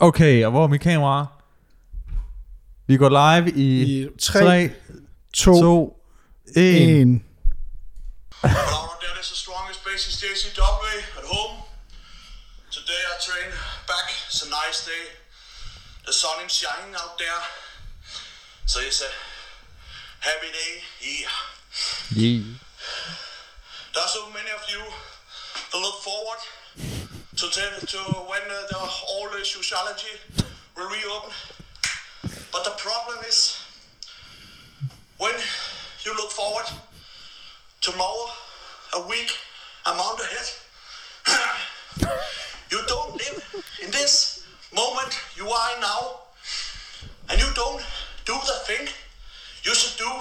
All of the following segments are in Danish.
Okay, og hvor er mit kamera? Vi går live i, I 3, 3, 2, 2, 1. 1. Hello, that is the strongest base in JCW at home. Today I train back. It's a nice day. The sun is shining out there. So it's a happy day. Yeah. There are so many of you that look forward to, tell, to when uh, the all the sociology will reopen. But the problem is when you look forward tomorrow, a week, a month ahead. you don't live in this moment you are in now, and you don't do the thing you should do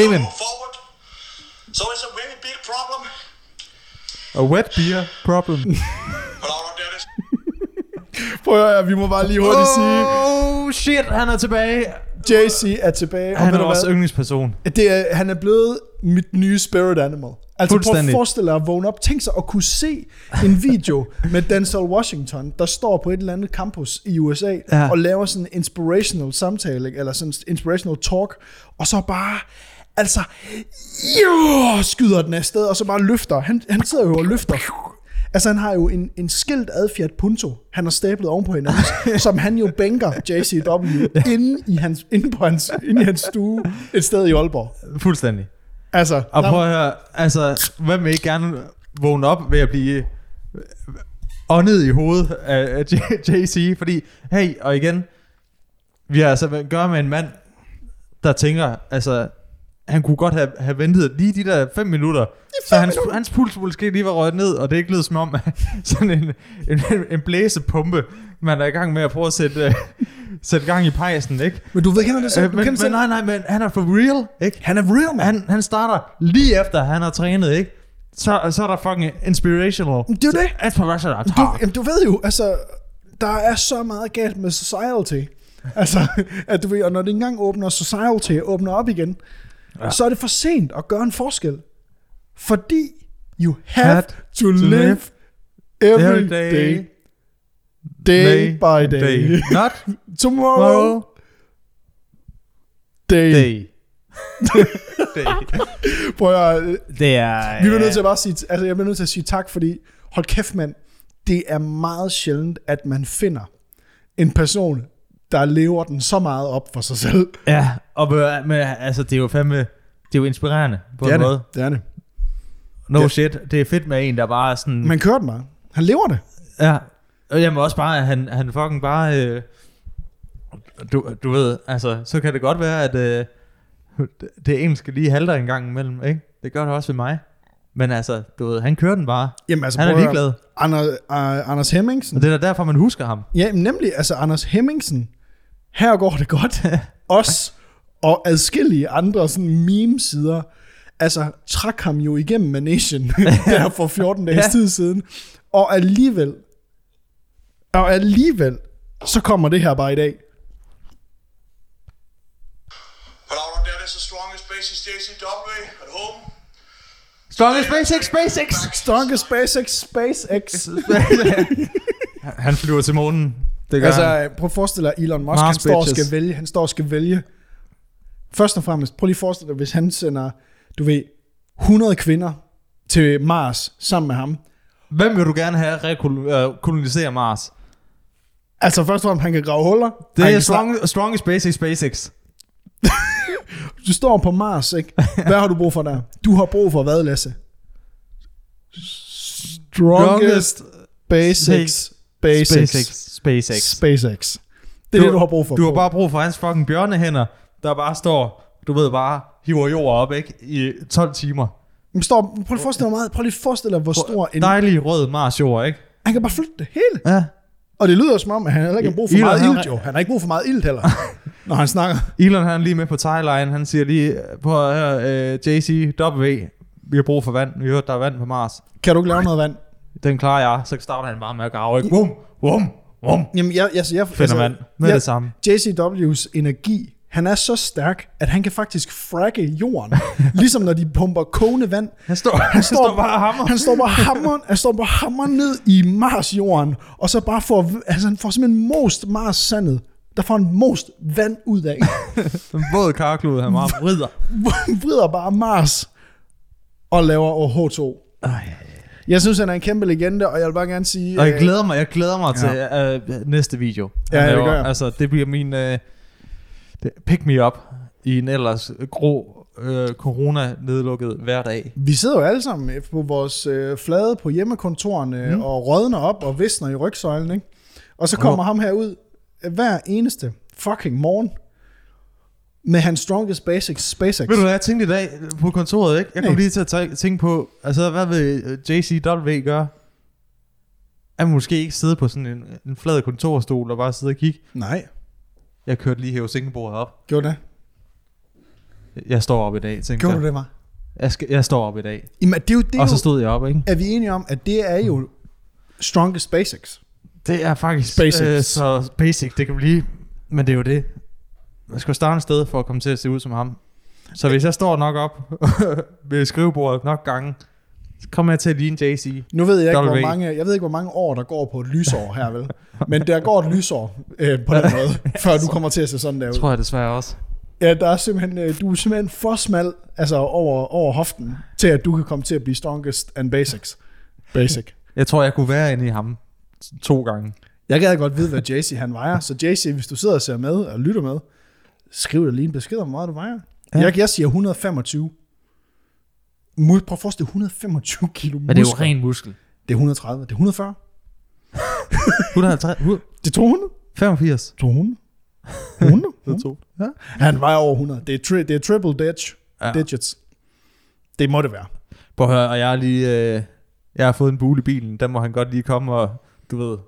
Amen. to move forward. So it's a very big problem. A wet beer problem. Hello, that is Prøv at høre, vi må bare lige hurtigt oh. sige, oh shit, han er tilbage. JC er tilbage. og Han ved er du vores hvad? yndlingsperson. det er, han er blevet mit nye spirit animal. Altså prøv at Fuldstændig. forestille dig at vågne op. Tænk sig at kunne se en video med Denzel Washington, der står på et eller andet campus i USA Ja. ja. og laver sådan en inspirational samtale, ikke? eller sådan en inspirational talk, og så bare altså jo, skyder den afsted, og så bare løfter. Han, han sidder jo og løfter. Altså han har jo en, en skilt adfjert punto, han har stablet oven på hinanden, som han jo bænker JCW inde i hans, inde på hans, inde i hans stue et sted i Aalborg. Fuldstændig. Altså, Og nej, prøv at høre, altså, hvem vil ikke gerne vågne op ved at blive øh, åndet i hovedet af af J- JC? Fordi, hey, og igen, vi har altså at gøre med en mand, der tænker, altså, han kunne godt have, have ventet lige de der 5 minutter, så hans, hans puls måske lige var røget ned, og det ikke lød som om, at sådan en, en, en blæsepumpe, man er i gang med at prøve at sætte, øh, sætte gang i pejsen, ikke? men du ved, kender det selv. Øh, du kender men, det men selv. nej, nej, men han er for real, ikke? Han er real, man. han, han starter lige efter, han har trænet, ikke? Så, så er der fucking inspirational. Det er jo det. Inspirational. Du, jamen, du ved jo, altså, der er så meget galt med society. Altså, at du ved, og når det ikke engang åbner society, åbner op igen, ja. så er det for sent at gøre en forskel. Fordi you have Had to live every, every day, day, day, day by day. day. Not Tomorrow, day. day. day. day. Prøv at, høre, Det er... Vi bliver nødt til at bare sige, altså jeg bliver nødt til at sige tak, fordi hold kæft mand, det er meget sjældent, at man finder en person, der lever den så meget op for sig selv. Ja, og med, med, altså, det er jo fandme... Det er jo inspirerende på en måde. det er det. No Det- shit. Det er fedt med en, der bare er sådan... Man kørte mig. Han lever det. Ja, og jamen også bare, at han, han fucking bare, øh, du, du ved, altså, så kan det godt være, at øh, det engelske lige halter en gang imellem, ikke? Det gør det også ved mig. Men altså, du ved, han kører den bare. Jamen, altså, Han er prøv at høre. ligeglad. Anders, uh, Anders Hemmingsen. Og det er da derfor, man husker ham. Ja, men nemlig, altså Anders Hemmingsen. Her går det godt. Os og adskillige andre sådan meme-sider, altså trak ham jo igennem Manation der for 14 dage Ja. tid siden. Og alligevel, og alligevel, så kommer det her bare i dag. Hello, that is the strongest base in JCW at home. Strongest SpaceX, SpaceX! Strongest SpaceX, SpaceX. han flyver til månen. Det gør altså, han. Altså, prøv at forestille dig, Elon Musk, han Mars står, og bitches. skal vælge, han står og skal vælge. Først og fremmest, prøv lige at forestille dig, hvis han sender, du ved, 100 kvinder til Mars sammen med ham. Hvem vil du gerne have rekolonisere Mars? Altså først og fremmest, han kan grave huller. Det han er kan starte- strong, strongest SpaceX, SpaceX. Du står på Mars, ikke? Hvad har du brug for der? Du har brug for hvad, Lasse? Strongest SpaceX, SpaceX, SpaceX. SpaceX. SpaceX. Det er det, du har brug for. Du har på. bare brug for hans fucking bjørnehænder, der bare står, du ved bare, hiver jord op, ikke? I 12 timer. Men Står, prøv lige at forestille dig, hvor meget, prøv lige at forestille dig, hvor stor en... Dejlig rød marsjord, ikke? Han kan bare flytte det hele. Ja. Og det lyder som om, at han heller ikke har brug for Elon, meget han- ilt, jo. Han har ikke brug for meget ilt heller, når han snakker. Elon han er lige med på timeline, han siger lige på her, øh, JCW, vi har brug for vand, vi har hørt, der er vand på Mars. Kan du ikke lave noget vand? Den klarer jeg, så starter han bare med at grave, ikke? Wum, wum, wum. Jamen, jeg, jeg, jeg, jeg Finder vand med det samme. JCW's energi Han er så stærk, at han kan faktisk frække jorden. ligesom når de pumper kogende vand. Han står, han står, bare og hammer. Han står bare hammeren, han står bare hammeren ned i Mars-jorden, og så bare får, altså han får simpelthen most Mars-sandet. Der får han most vand ud af. Den våde karklud, han bare vrider. vrider bare Mars og laver H2. Ej. Jeg synes, han er en kæmpe legende, og jeg vil bare gerne sige... Og jeg øh, glæder mig, jeg glæder mig ja. til øh, næste video. han Ja, det laver. gør jeg. Altså, det bliver min øh, det, pick me up i en ellers grå øh, corona-nedlukket hverdag. Vi sidder jo alle sammen på vores øh, flade på hjemmekontorene mm. og rådner op og visner i rygsøjlen, ikke? Og så kommer Åh. ham herud hver eneste fucking morgen med hans strongest basics, SpaceX. Ved du hvad, jeg tænkte i dag på kontoret, ikke? Jeg kom Nej. lige til at tæ- tænke på, altså hvad vil øh, JCW gøre? At måske ikke sidde på sådan en, en flad kontorstol og bare sidde og kigge. Nej, Jeg kørte lige hæve sengebordet op. gjorde det. Jeg står op i dag, tænkte Gjorde jeg. du det, var? Jeg, skal, jeg står op i dag. Jamen, det er jo det, Og så jo, stod Mm. jeg op, ikke? er vi enige om, at det er jo strongest basics. Det er faktisk Basics. Øh, så basic, det kan blive. Men det er jo det. Man skal jo starte et sted for at komme til at se ud som ham. Så hvis jeg står nok op ved skrivebordet nok gange, så kommer jeg til at ligne JC. Nu ved jeg ikke, hvor W. mange, jeg ved ikke, hvor mange år, der går på et lysår her, vel? Men der går et lysår øh, på den måde, før du kommer til at se sådan der ud. Tror jeg desværre også. Ja, der er simpelthen, øh, du er simpelthen for smal altså over, over hoften, til at du kan komme til at blive strongest and basics. Basic. Jeg tror, jeg kunne være inde i ham to gange. Jeg gad godt vide, hvad JC han vejer. Så JC, hvis du sidder og ser med og lytter med, skriv da lige en besked om, hvor meget du vejer. Ja. Ja. Jeg, jeg siger 125. Mu- Prøv at forestille dig 125 kilo muskler. ren muskel. Det er 130. Det er 140. 150, 100, Det er 200. 85. 200. 100. Det er to. Ja. Han vejer over 100. Det er, tri- det er triple dig- Ja. digits. Det må det være. Prøv at høre, og jeg, er lige, øh, jeg har fået en bule i bilen. Den må han godt lige komme og, du ved...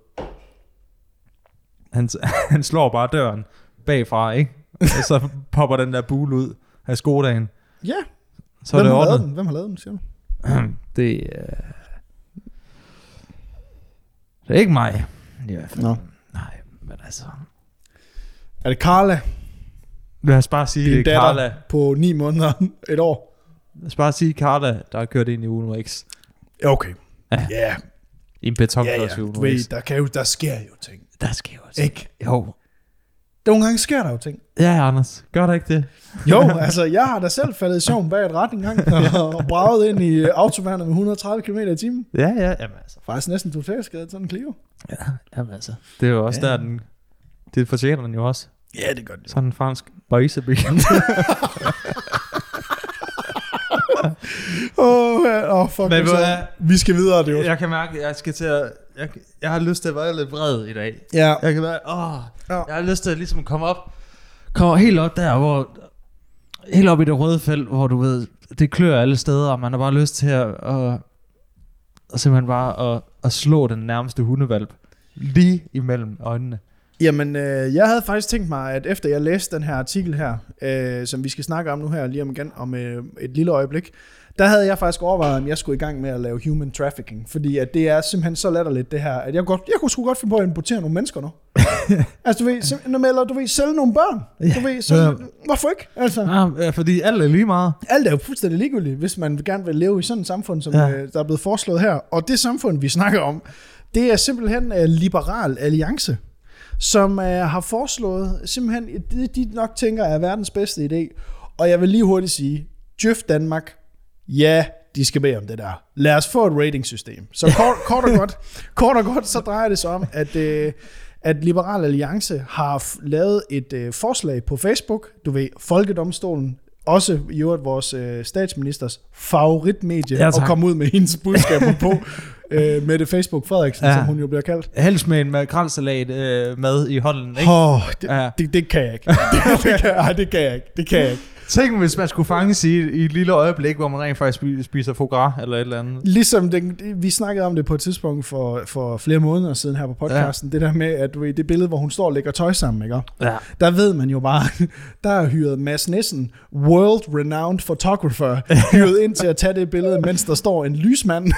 Han, han slår bare døren bagfra, ikke? Og så popper den der bule ud af skodagen. Ja, Så er hvem det har lavet den? ordnet. Hvem har lavet den, siger du? Det, øh, det er ikke mig. I hvert fald. Nå. Nej, men altså... Er det Carla? Lad os bare sige, Din det er datter Carla. på 9 måneder, et år. Lad os bare sige Carla, der har kørt ind i Uno X. Ja, okay. Ja, Ja. ja, I en betonklods ja. i Du Uno ved, X. der, kan jo, der sker jo ting. Der sker jo også. Ikke? Jo. Nogle gange sker der jo ting. Ja, Anders. Gør der ikke det? Jo, altså, jeg har da selv faldet i søvn bag et ret en gang, og, og braget ind i autoværnet med 130 km i timen. Ja, ja. Jamen altså. Faktisk næsten totalt skadet sådan en Clio. Jamen altså. Det er jo også ja. der, den... Det fortjener den jo også. Ja, det gør det. Sådan en fransk bøjsebil. Åh, oh, oh, fuck. Men Men, ved du hvad? vi skal videre, det er jo. jeg kan mærke, at jeg skal til at... Jeg, jeg har lyst til at være lidt vred i dag. Ja. Jeg kan være... Åh, Ja. jeg har lyst til at ligesom komme op... Komme helt op der, hvor... Helt op i det røde felt, hvor du ved... Det klør alle steder, og man har bare lyst til at... at, at simpelthen bare at, at slå den nærmeste hundevalp. Lige imellem øjnene. Jamen, øh, jeg havde faktisk tænkt mig, at efter jeg læste den her artikel her, øh, som vi skal snakke om nu her lige om igen, om øh, et lille øjeblik, der havde jeg faktisk overvejet, om jeg skulle i gang med at lave human trafficking, fordi at det er simpelthen så latterligt det her, at jeg, godt, jeg kunne sgu godt finde på at importere nogle mennesker nu. altså, du ved, simpelthen, eller du ved, sælge nogle børn. Ja, Du ved, sælge, ja. Hvorfor ikke? Altså, Ja, fordi alt er lige meget. alt er jo fuldstændig ligegyldigt, hvis man gerne vil leve i sådan et samfund, som Ja. ja. øh, der er blevet foreslået her. Og det samfund, vi snakker om, det er simpelthen øh, Liberal Alliance som øh, har foreslået simpelthen det, de nok tænker er verdens bedste idé. Og jeg vil lige hurtigt sige, Djøf Danmark, ja, de skal bede om det der. Lad os få et ratingsystem. Så kort, kort, og godt, kort og godt, så drejer det sig om, at, øh, at Liberal Alliance har f- lavet et øh, forslag på Facebook, du ved, Folkedomstolen, også i øvrigt vores øh, statsministers favoritmedie Ja, ja, tak. at komme ud med hendes budskaber på, øh, med det Facebook Frederiksen, Ja. ja. som hun jo bliver kaldt. Helst med en makrelsalat øh, med i hånden, ikke? Åh, oh, det, Ja. det, det kan jeg ikke. det, det, kan, ej, det kan jeg ikke. Det kan jeg ikke. Tænk, hvis man skulle fanges i, i et lille øjeblik, hvor man rent faktisk spi- spiser foie gras eller et eller andet. Ligesom den, vi snakkede om det på et tidspunkt for, for flere måneder siden her på podcasten, ja. det der med, at du ved, det billede, hvor hun står og lægger tøj sammen, ikke? Ja. der ved man jo bare, der er hyret Mads Nissen, world-renowned photographer, hyret ind til at tage det billede, mens der står en lysmand,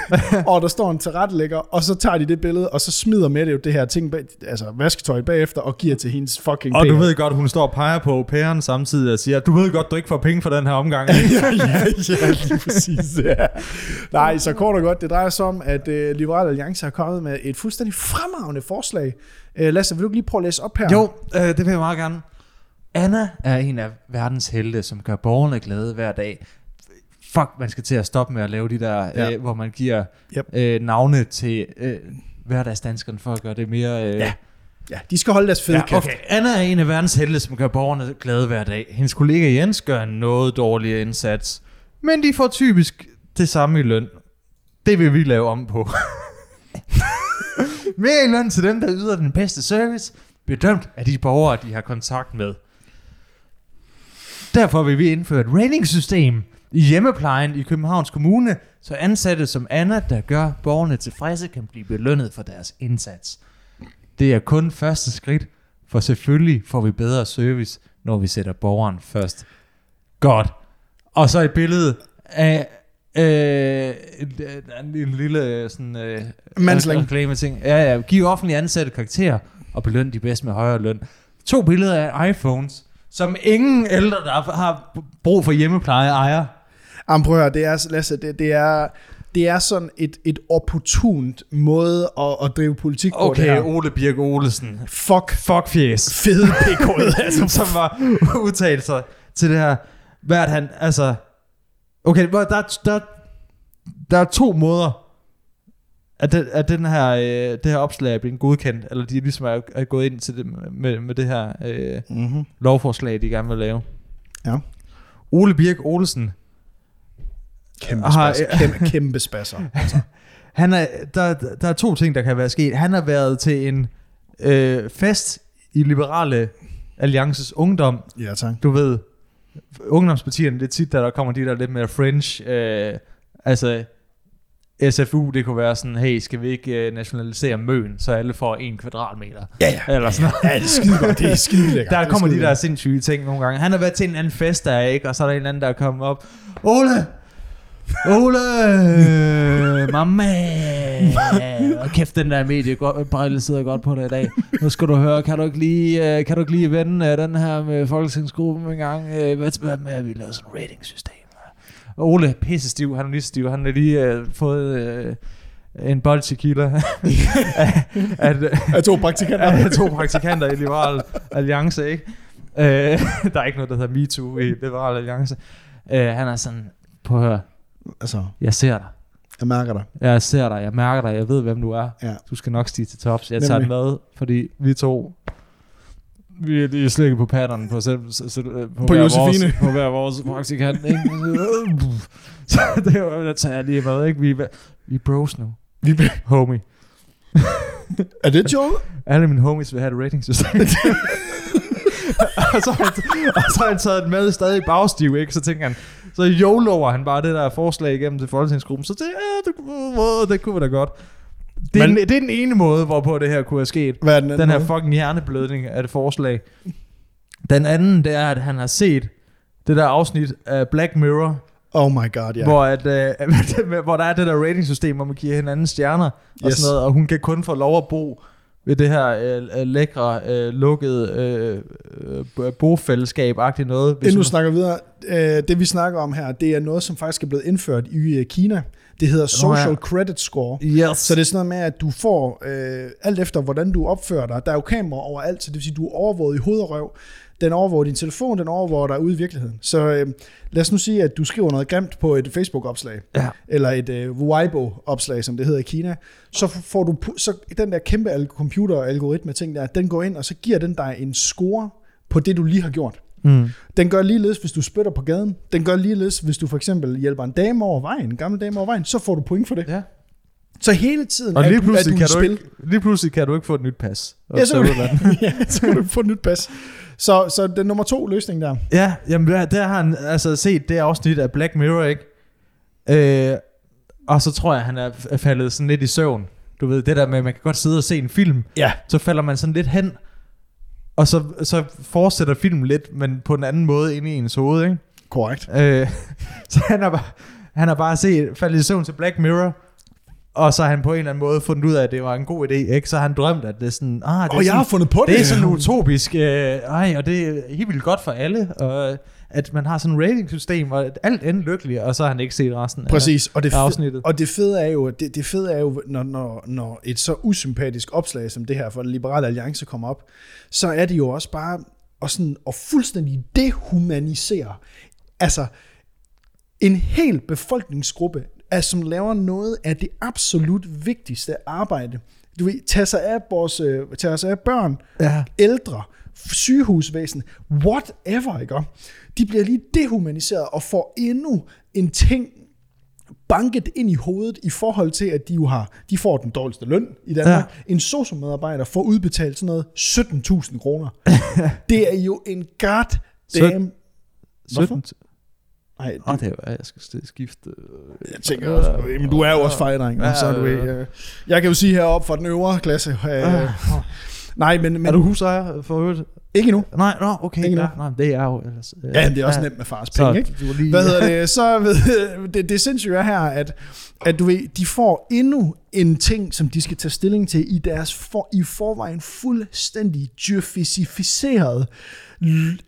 og der står en tilrettelægger, og så tager de det billede, og så smider med det jo det her ting, bag, altså vasketøj bagefter, og giver til hendes fucking Og du PR. ved godt, hun står og peger på au pairen samtidig og siger, du ved godt, du ikke får penge for den her omgang. ja, ja, ja, lige præcis. Ja. Nej, så kort og godt, det drejer sig om, at øh, Liberal Alliance har kommet med et fuldstændig fremragende forslag. Øh, Lasse, vil du ikke lige prøve at læse op her? Jo, øh, det vil jeg meget gerne. Anna er en af verdens helte, som gør borgerne glade hver dag. Fuck, man skal til at stoppe med at lave de der, Ja. ja. øh, hvor man giver Yep. yep. øh, navne til øh, hverdagsdanskerne for at gøre det mere... Øh, Ja, Ja, de skal holde deres fede Ja, okay. Anna er en af verdens helte, som gør borgerne glade hver dag. Hendes kollega Jens gør en noget dårligere indsats, Men de får typisk det samme i løn. Det vil vi lave om på. Mere i løn til dem, der yder den bedste service, bedømt af de borgere, de har kontakt med. Derfor vil vi indføre et ratingssystem i hjemmeplejen i Københavns Kommune, så ansatte som Anna, der gør borgerne tilfredse, kan blive belønnet for deres indsats. Det er kun første skridt, for selvfølgelig får vi bedre service, når vi sætter borgeren først. Godt. Og så et billede af øh, en, en, en lille øh, sådan, øh, Mandsling. reklame ting. Ja, ja. Giv offentlige ansatte karakterer og beløn de bedste med højere løn. To billeder af iPhones, som ingen ældre, der har brug for hjemmepleje, ejer. Jamen prøv at høre, det er, Lasse, det, det er, det er sådan et, et opportunt måde at, at drive politik på det Okay, her. Ole Birk Olesen. Fuck Fuck fjes. fede PK'et, altså. som, som var udtalt sig til det her. Hvad er det, han, altså... Okay, hvor der, er- der, der er to måder, at, den, at den her, øh, det her opslag er blevet godkendt, eller de ligesom er, er gået ind til det med, med det her øh, Mm-hmm. lovforslag, de gerne vil lave. Ja. Ole Birk Olsen, Kæmpe, Aha, spasser. ja. Kæmpe, kæmpe spasser. han er, der, der er to ting, der kan være sket. Han har været til en øh, fest i Liberale Alliances Ungdom, Ja, tak. du ved, ungdomspartierne, det er tit, der, der kommer de der lidt mere fringe, øh, altså SFU, det kunne være sådan, hey, skal vi ikke øh, nationalisere møen, så alle får en kvadratmeter? Ja, ja. Eller sådan noget. Ja, det er skide godt. Det er skide lækkert. Der Det er kommer de skide der sindssyge ting nogle gange. Han har været til en eller anden fest, der er ikke, og så er der en eller anden, der er kommet op. Ole! Ole! Mamma! Og kæft, den der mediebrille sidder godt på dig i dag. Nu skal du høre, kan du ikke lige, øh, kan du ikke lige vende øh, den her med folketingsgruppen en gang? Øh, Hvad hvad med, at vi laver sådan et ratingsystem? Og Ole, pisse stiv, han er lige stiv, han har lige øh, fået øh, en bold tequila af, af, lækkert. Af to praktikanter. af to praktikanter i Liberal Alliance, ikke? Øh, der er ikke noget, der hedder MeToo i Liberal Alliance. øh, han er sådan, på hør, Altså, jeg ser dig. jeg mærker dig. Jeg ser dig, jeg mærker dig, jeg ved, hvem du er. Ja. Du skal nok stige til tops. Jeg Nemlig. tager den med, fordi vi to, vi er lige slikket på patterne på, selv, s- s- på, på, hver Josefine. vores, på hver vores praktikant. Ikke? Så det var, der tager jeg lige med. Ikke? Vi, er- vi er bros nu, Vi bliver... homie. Er det Joe? Alle mine homies vil have et ratingsystem. og, så, har han- og så har han taget den med stadig i bagstiv, ikke? Så tænker han, så jolover han bare det der forslag igennem til folketingsgruppen. Så det, ja, det, øh, det kunne være da godt. Det er, Men- Men, den, det er den ene måde, hvorpå det her kunne have sket. Hvad er den anden? Den her måde? fucking hjerneblødning af det forslag. Den anden, det er, at han har set det der afsnit af Black Mirror, Oh my god, ja. yeah. hvor, at, øh, hvor der er det der ratingsystem, hvor man giver hinanden stjerner yes. og Yes. sådan noget, og hun kan kun få lov at bo ved det her øh, øh, lækre, øh, lukkede øh, øh, bofællesskab-agtigt noget. Inden hun- du snakker videre, øh, det vi snakker om her, det er noget, som faktisk er blevet indført i øh, Kina. Det hedder Social ja. Credit Score. Yes. Så det er sådan noget med, at du får, øh, alt efter hvordan du opfører dig, der er jo kameraer overalt, så det vil sige, du er overvåget i hoved og røv. Den overvåger din telefon, den overvåger dig ude i virkeligheden. Så øh, lad os nu sige, at du skriver noget grimt på et Facebook-opslag, Ja. eller et øh, Weibo-opslag, som det hedder i Kina, så f- får du, pu- så den der kæmpe al- computer-algoritme ting der, den går ind, og så giver den dig en score på det, du lige har gjort. Mm. Den gør ligeledes, hvis du spytter på gaden. Den gør ligeledes, hvis du for eksempel hjælper en dame over vejen, en gammel dame over vejen, så får du point for det. Ja. Så hele tiden Og er lige du, er du pludselig, i kan du spil. ikke, lige pludselig kan du ikke få et nyt pas. Ja, så, ja, så kan du få et nyt pas. Så, så den nummer to løsning der. Ja, jamen der, der har han altså set det afsnit af Black Mirror, ikke? Øh, og så tror jeg, han er f- er faldet sådan lidt i søvn. Du ved, det der med, at man kan godt sidde og se en film, Ja. så falder man sådan lidt hen, og så, så fortsætter filmen lidt, men på en anden måde inde i ens hoved, ikke? Korrekt. Øh, så han har bare, han har bare set, faldet i søvn til Black Mirror, og så har han på en eller anden måde fundet ud af, at det var en god idé, ikke? Så har han drømt, at det er sådan, ah, det er Og jeg sådan, har fundet på det. det er sådan utopisk, øh, ej, og det er helt vildt godt for alle, og øh, at man har sådan et ratingsystem, og at alt ender lykkeligt, og så har han ikke set resten Præcis, og det, af fede, afsnittet. og det fede er jo, det, det fede er jo når, når, når et så usympatisk opslag som det her for Liberale Alliance kommer op, så er det jo også bare at, sådan, at fuldstændig dehumanisere altså en hel befolkningsgruppe, altså, som laver noget af det absolut vigtigste arbejde. Du ved, tage sig af, vores, øh, tage sig af børn, Ja. ældre, sygehusvæsen, whatever, ikke? De bliver lige dehumaniseret og får endnu en ting banket ind i hovedet i forhold til, at de jo har, de får den dårligste løn i Danmark. Ja. En sociomedarbejder får udbetalt sådan noget 17.000 kroner. det er jo en goddamn... Hvorfor? 17. Nej, Åh, Ah, det var, jeg skal skifte. jeg tænker også, jamen, du er jo også fejdring, ja, Ja, så er du ja, ikke... Øh, jeg kan jo sige heroppe for den øvre klasse... Øh, nej, men, men Er du husejer for øvrigt? ikke nu. Nej, nå, okay. Ikke Ja, nu. nej, det er jeg jo ellers. øh, Ja, men det er også nemt med fars Så penge, ikke? du er lige, Hvad hedder det? Så ved, det, det sindssyge er her, at, at du ved, de får endnu en ting, som de skal tage stilling til i deres for, i forvejen fuldstændig djøfisificerede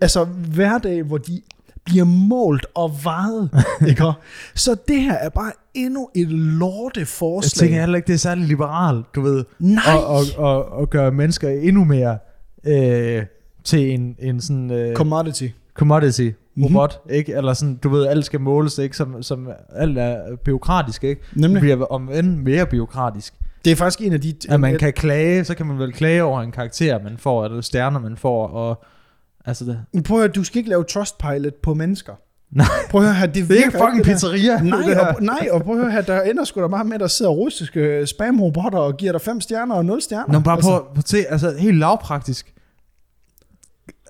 altså hverdag, hvor de bliver målt og vejet. Ikke? Så det her er bare endnu et lorte Jeg forslag. tænker heller ikke, det er særlig liberalt, du ved. Nej! Og, og, og, og gøre mennesker endnu mere øh, til en, en sådan... Øh, Commodity. commodity Mhm. robot, mm-hmm. ikke? Eller sådan, du ved, alt skal måles, ikke? Som, som alt er byråkratisk, ikke? Nemlig. Det bliver om end mere byråkratisk. Det er faktisk en af de... Øh, At man kan klage, så kan man vel klage over en karakter, man får, eller stjerner, man får, og... Altså det. Prøv at høre, du skal ikke lave Trustpilot på mennesker. Nej. Prøv at høre her, det, Det er ikke virker fucking det der. pizzeria. det Nej, her. og, nej, og prøv at høre her, der ender sgu da meget med, at der sidder russiske øh, spamrobotter og giver dig fem stjerner og nul stjerner. Nå, bare på, på se, altså helt lavpraktisk.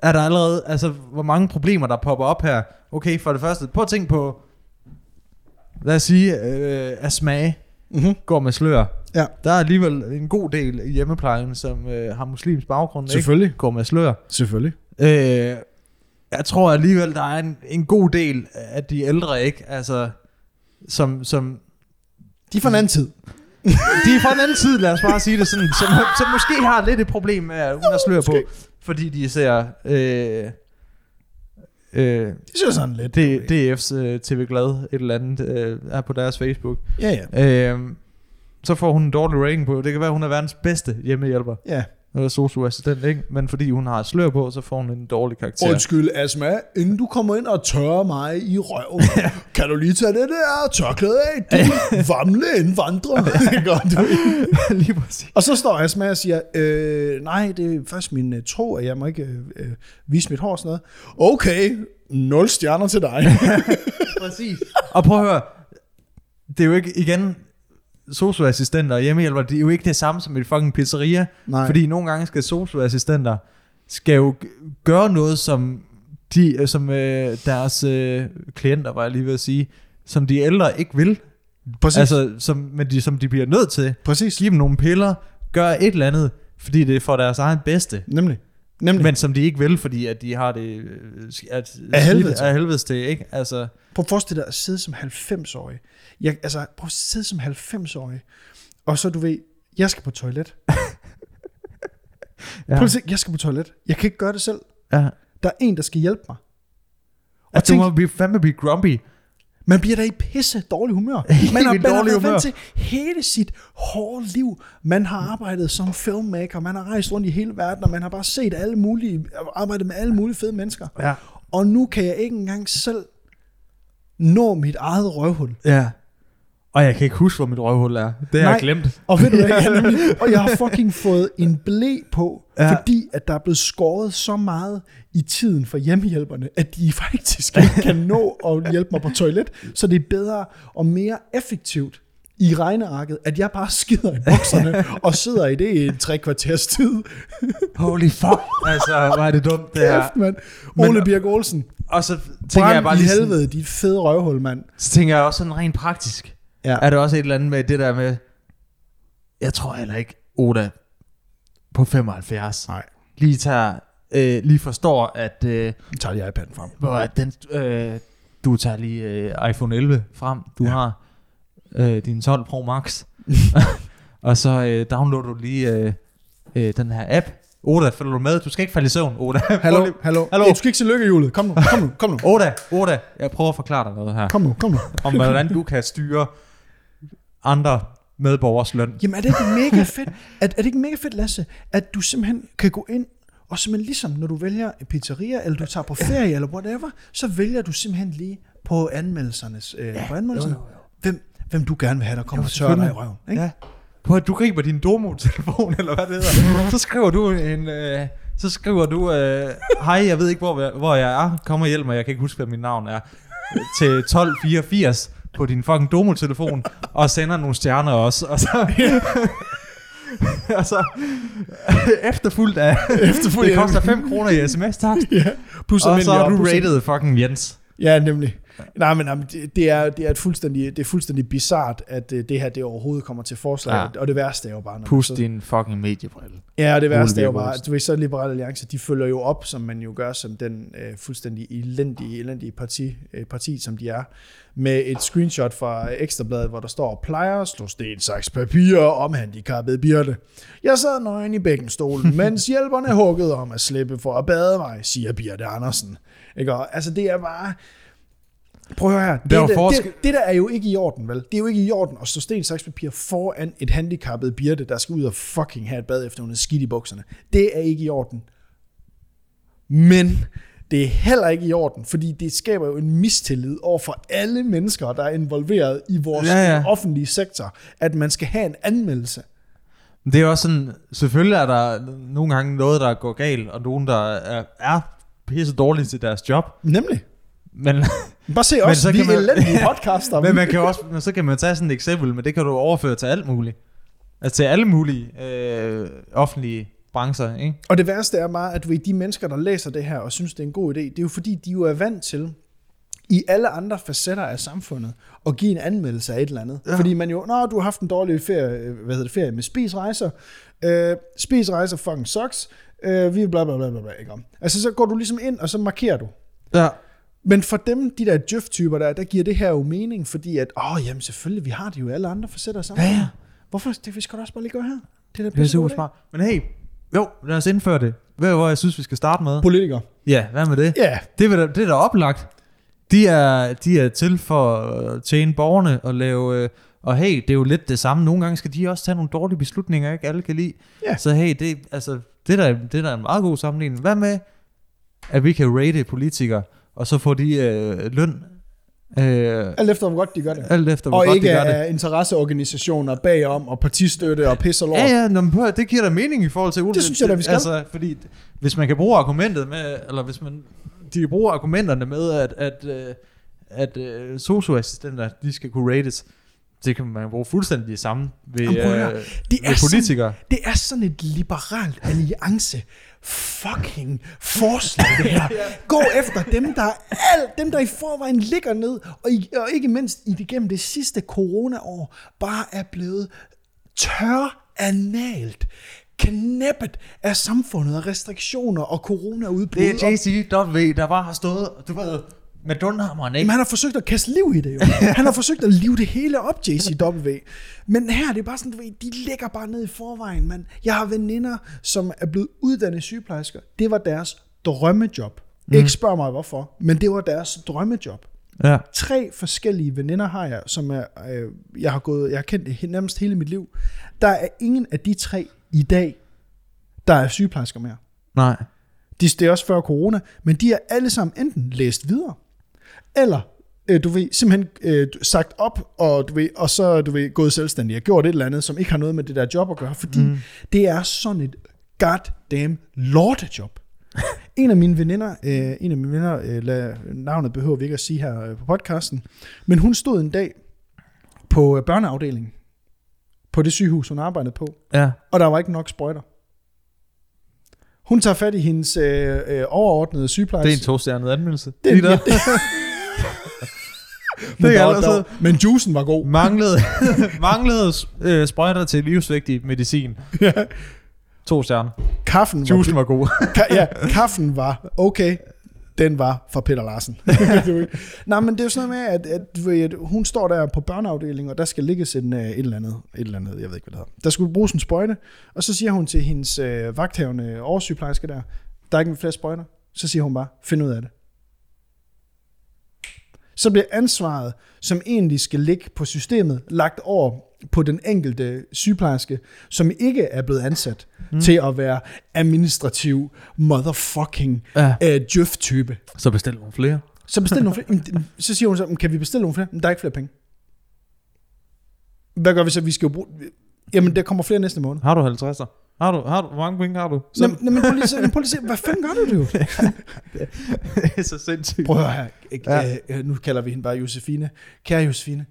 Er der allerede, altså hvor mange problemer, der popper op her? Okay, for det første, prøv at tænke på, lad os sige, øh, at smage Mm-hmm. går med slør. Ja. Der er alligevel en god del i hjemmeplejen, som øh, har muslims baggrund, ikke? Selvfølgelig. Går med slør. Selvfølgelig. Øh, jeg tror alligevel, der er en, en god del af de ældre, ikke? Altså, som, som De får en anden tid. de er fra en anden tid, lad os bare sige det sådan, som, som måske har lidt et problem med, at hun har slør på, fordi de ser øh, øh, De synes sådan lidt. D- DF's øh, TV Glad, et eller andet, øh, er på deres Facebook. Ja, ja. Øh, så får hun en dårlig rating på, det kan være, hun er verdens bedste hjemmehjælper, Ja. eller socioassistent, ikke? Men fordi hun har et slør på, så får hun en dårlig karakter. Undskyld, Asma, inden du kommer ind og tørrer mig i røven, kan du lige tage det der tørklæde af, din vamle indvandrer. Godt, du. Lige præcis. Og så står Asma og siger, øh, nej, det er først min øh, tro, at jeg må ikke øh, øh, vise mit hår og sådan noget. Okay, nul stjerner til dig. Præcis. Og prøv at høre, det er jo ikke, igen, socioassistenter og hjemmehjælpere, det er jo ikke det samme som et fucking pizzeria. Nej. Fordi nogle gange skal socioassistenter, skal jo g- gøre noget, som, de, øh, som øh, deres øh, klienter, var jeg lige ved at sige, som de ældre ikke vil. Præcis. Altså, som, men de, som de bliver nødt til. Præcis. Giv dem nogle piller, gør et eller andet, fordi det er for deres egen bedste. Nemlig. Nemlig. Men, Men som de ikke vil, fordi at de har det øh, sk- at, Af helvede til. af helvede til, ikke? Altså, prøv at forestille dig at sidde som 90-årig. Jeg, altså, prøv at sidde som 90-årig. Og så du ved, jeg skal på toilet. ja. Prøv at se, jeg skal på toilet. Jeg kan ikke gøre det selv. ja. Der er en, der skal hjælpe mig. Og tænk- tænk, du må blive, fandme blive grumpy. Man bliver da i pisse dårlig humør. Man har, vildt man har dårlig været humør. vant til hele sit hårde liv. Man har arbejdet som filmmaker, man har rejst rundt i hele verden, og man har bare set alle mulige, arbejdet med alle mulige fede mennesker. Ja. Og nu kan jeg ikke engang selv nå mit eget røvhul. Ja. Og jeg kan ikke huske, hvor mit røvhul er. Det har Nej. jeg glemt. Og ved du hvad, jeg har nemlig- og jeg har fucking fået en blæ på, ja. Ja. fordi at der er blevet skåret så meget i tiden for hjemmehjælperne, at de faktisk ikke kan nå at hjælpe mig på toilet, så det er bedre og mere effektivt i regnearket, at jeg bare skider i bukserne og sidder i det i en tre kvarters tid. Holy fuck. Altså, hvor er det dumt, det her. Kæft, mand. Men- Ole Birk Olsen, Og så tænker tænker jeg bare i lige sådan, helvede, dit fede røvhul, mand. så tænker jeg også sådan rent praktisk. Ja. Er der også et eller andet med det der med, jeg tror heller ikke, Oda på 75 Nej, lige tager, øh, lige forstår, at, øh, nu tager jeg iPad'en frem. hvor at den, øh, du tager lige øh, iPhone 11 frem, du ja. har øh, din 12 Pro Max, og så øh, downloader du lige øh, øh, den her app. Oda, følger du med? Du skal ikke falde i søvn, Oda. Hallo, Prøv lige- hallo. Hallo. Du skal ikke se lykkehjulet. Kom nu, kom nu, kom nu. Oda, Oda, jeg prøver at forklare dig noget her. Kom nu, kom nu. om hvordan du kan styre andre medborgers løn. Jamen er det ikke mega fedt, at, er det ikke mega fedt, Lasse, at du simpelthen kan gå ind, og simpelthen ligesom når du vælger en pizzeria, eller du tager på ferie, eller whatever, så vælger du simpelthen lige på anmeldelsernes, øh, ja, på anmeldelserne, jo, jo, jo. Hvem, hvem du gerne vil have, der kommer og tørrer dig i selvfølgelig. røven. Ikke? Ja. På at du griber din domo-telefon, eller hvad det hedder, så skriver du en... Øh, så skriver du, øh, hej, jeg ved ikke, hvor, jeg- hvor jeg er. Kom og hjælp mig, jeg kan ikke huske, hvad mit navn er. Til 1284 på din fucking domo-telefon, og sender nogle stjerner også. Og så, og så efterfuldt af, Efterfulgt det af- koster 5 kroner i sms-takst, Ja, plus og så almindelig har du opblussen. rated fucking Jens. Ja, nemlig. Nej, men jamen, det, det, er, det, er et fuldstændig, det er fuldstændig bizart, at øh, det her det overhovedet kommer til forslag. Ja. Ja. Og det værste er jo bare... Når man Pust så- din fucking mediebrille. Ja, og det værste er jo Birk bare, Olsen. at du ved, så Liberale Alliance, de følger jo op, som man jo gør, som den øh, fuldstændig elendige, elendige parti, øh, parti, som de er, med et screenshot fra Ekstrabladet, hvor der står, plejer at slå sten, saks, papir om handicappede birte. Jeg sad nøgen i bækkenstolen, mens hjælperne huggede om at slippe for at bade mig, siger Birte Andersen. Ikke? Og, altså, det er bare... Prøv at høre her. Det, er jo der, forskel- det, det der er jo ikke i orden, vel? Det er jo ikke i orden at stå sten, saks, papir foran et handicappet birte, der skal ud og fucking have et bad efter hun er skidt i bukserne. Det er ikke i orden. Men det er heller ikke i orden, fordi det skaber jo en mistillid over for alle mennesker, der er involveret i vores ja, Ja, ja. ja. offentlige sektor, at man skal have en anmeldelse. Men Det er også sådan, selvfølgelig er der nogle gange noget, der går galt, og nogen, der er, er pisse dårlige til deres job. Nemlig. Men, Bare se os, så vi kan man... man- elendige podcaster. men man kan jo også, men så kan man tage sådan et eksempel, men det kan du overføre til alt muligt. Altså til alle mulige øh, offentlige brancher, ikke? Og det værste er bare, at du ved, de mennesker, der læser det her og synes, det er en god idé, det er jo fordi, de jo er vant til i alle andre facetter af samfundet at give en anmeldelse af et eller andet. Ja. Fordi man jo, nå, du har haft en dårlig ferie, øh, hvad hedder det, ferie med spisrejser. Øh, spisrejser fucking sucks. Øh, vi bla bla bla bla, bla ikke om. Altså, så går du ligesom ind, og så markerer du. Ja. Men for dem, de der djøf-typer der, der giver det her jo mening, fordi at, åh, jamen selvfølgelig, vi har det jo i alle andre facetter af samfundet. ja. Hvorfor? Det vi skal da også bare lige gøre her. Det er da Det er pisse super god idé. smart. Men hey, jo, lad os indføre det. Ved du, hvor jeg synes, vi skal starte med? Politikere. Ja, hvad med det? Ja, yeah. Det er, da- det er da oplagt. De er, de er til for at tjene borgerne og lave... øh, Og hey, det er jo lidt det samme. Nogle gange skal de også tage nogle dårlige beslutninger, ikke alle kan lide. Ja. Så hey, det, altså, det, er da, det er da en meget god sammenligning. Hvad med, at vi kan rate politikere, og så får de øh, løn, øh, alt efter, hvor godt de gør det. alt efter, hvor Og godt ikke de gør det. af interesseorganisationer bagom og partistøtte og pis og lort. Ja, ja, nå, men prøv, at- det giver da mening i forhold til Ole. Det synes jeg da, vi skal. Altså, fordi hvis man kan bruge argumentet med, eller hvis man, de kan bruge argumenterne med, at, at, øh, at, at socioassistenter, de skal kunne rates, det kan man bruge fuldstændig det samme ved, Jamen, prøv at høre. øh, Det er ved politikere. Sådan, det er sådan et liberalt alliance fucking forslag, det her. Gå efter dem, der, alt, dem, der i forvejen ligger ned, og, i, og ikke mindst i det gennem det sidste coronaår, bare er blevet tør analt knæppet af samfundet og restriktioner og coronaudbrud. Det er og- JCW, der bare har stået, du ved, med dunhammeren, ikke? Jamen, han har forsøgt at kaste liv i det jo. Han har forsøgt at live det hele op, JCW. Men her, det er bare sådan, du ved, de ligger bare ned i forvejen, mand. Jeg har veninder, som er blevet uddannet sygeplejersker. Det var deres drømmejob. Mm. Ikke spørg mig hvorfor, men det var deres drømmejob. Ja. Tre forskellige veninder har jeg, som er, øh, jeg har gået, jeg har kendt he- nærmest hele mit liv. Der er ingen af de tre i dag, der er sygeplejersker mere. Nej. De det er også før corona, men de er alle sammen enten læst videre, eller øh, du ved, simpelthen øh, du- sagt op, og, du ved, og så du ved, gået selvstændig og gjort et eller andet, som ikke har noget med det der job at gøre, fordi mm. det er sådan et goddamn lortejob. En af mine veninder, øh, en af mine venner, øh, la, navnet behøver vi ikke at sige her øh, på podcasten, men hun stod en dag på øh, børneafdelingen, på det sygehus, hun arbejdede på, Ja. og der var ikke nok sprøjter. Hun tager fat i hendes øh, øh, overordnede sygeplejerske. Det er en tostjernet anmeldelse. Det er Lige der. Men, det er der, allerede- der, men juicen var god. Manglede, manglede øh, sprøjter til livsvigtig medicin. Ja. To stjerner. Kaffen var, Juicen var god. ka, ja, kaffen var okay. Den var fra Peter Larsen. Det var ikke- Nej, men det er jo sådan noget med, at, at, du ved, at hun står der på børneafdelingen, og der skal ligges en, øh, et, eller andet, et eller andet, jeg ved ikke, hvad det hedder. Der skulle bruges en sprøjte, og så siger hun til hendes øh, vagthavende oversygeplejerske der, der er ikke flere sprøjter. Så siger hun bare, find ud af det. Så bliver ansvaret, som egentlig skal ligge på systemet, lagt over på den enkelte sygeplejerske, som ikke er blevet ansat mm. til at være administrativ motherfucking Ja. øh, djøf-type. Så bestil nogle flere. Så bestil nogle flere. Jamen, Så siger hun så, "Men kan vi bestille nogle flere? Men der er ikke flere penge. Hvad gør vi så? Vi skal jo bruge... Jamen, der kommer flere næste måned. Har du 50'er? Har du, har du, hvor mange penge har du? Så... Nå, men prøv lige, at se- prøv lige at se, hvad fanden gør du det jo? det er så sindssygt. Prøv at høre her. Ja. Øh, nu kalder vi hende bare Josefine. Kære Josefine,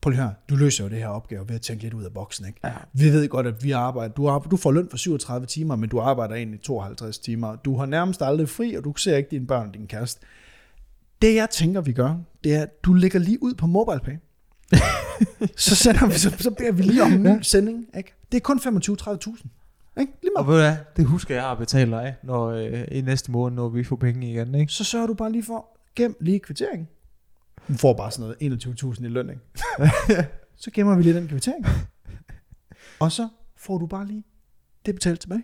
prøv lige her. Du løser jo det her opgave ved at tænke lidt ud af boksen. Ikke? Ja. Vi ved godt, at vi arbejder. Du, arbejder, du får løn for 37 timer, men du arbejder egentlig 52 timer. Du har nærmest aldrig fri, og du ser ikke dine børn og din kæreste. Det jeg tænker, vi gør, det er, at du lægger lige ud på MobilePay. så, sender vi, så, så beder vi lige om en ny sending. Ikke? Det er kun 25-30.000. Ikke? Lige Og meget. ved du hvad, det husker jeg at betale dig, når, øh, i næste måned, når vi får penge igen, ikke? så sørger du bare lige for, gem lige kvitteringen. Hun får bare sådan noget 21.000 i løn, ikke? så gemmer vi lige den kvittering. Og så får du bare lige det betalt tilbage.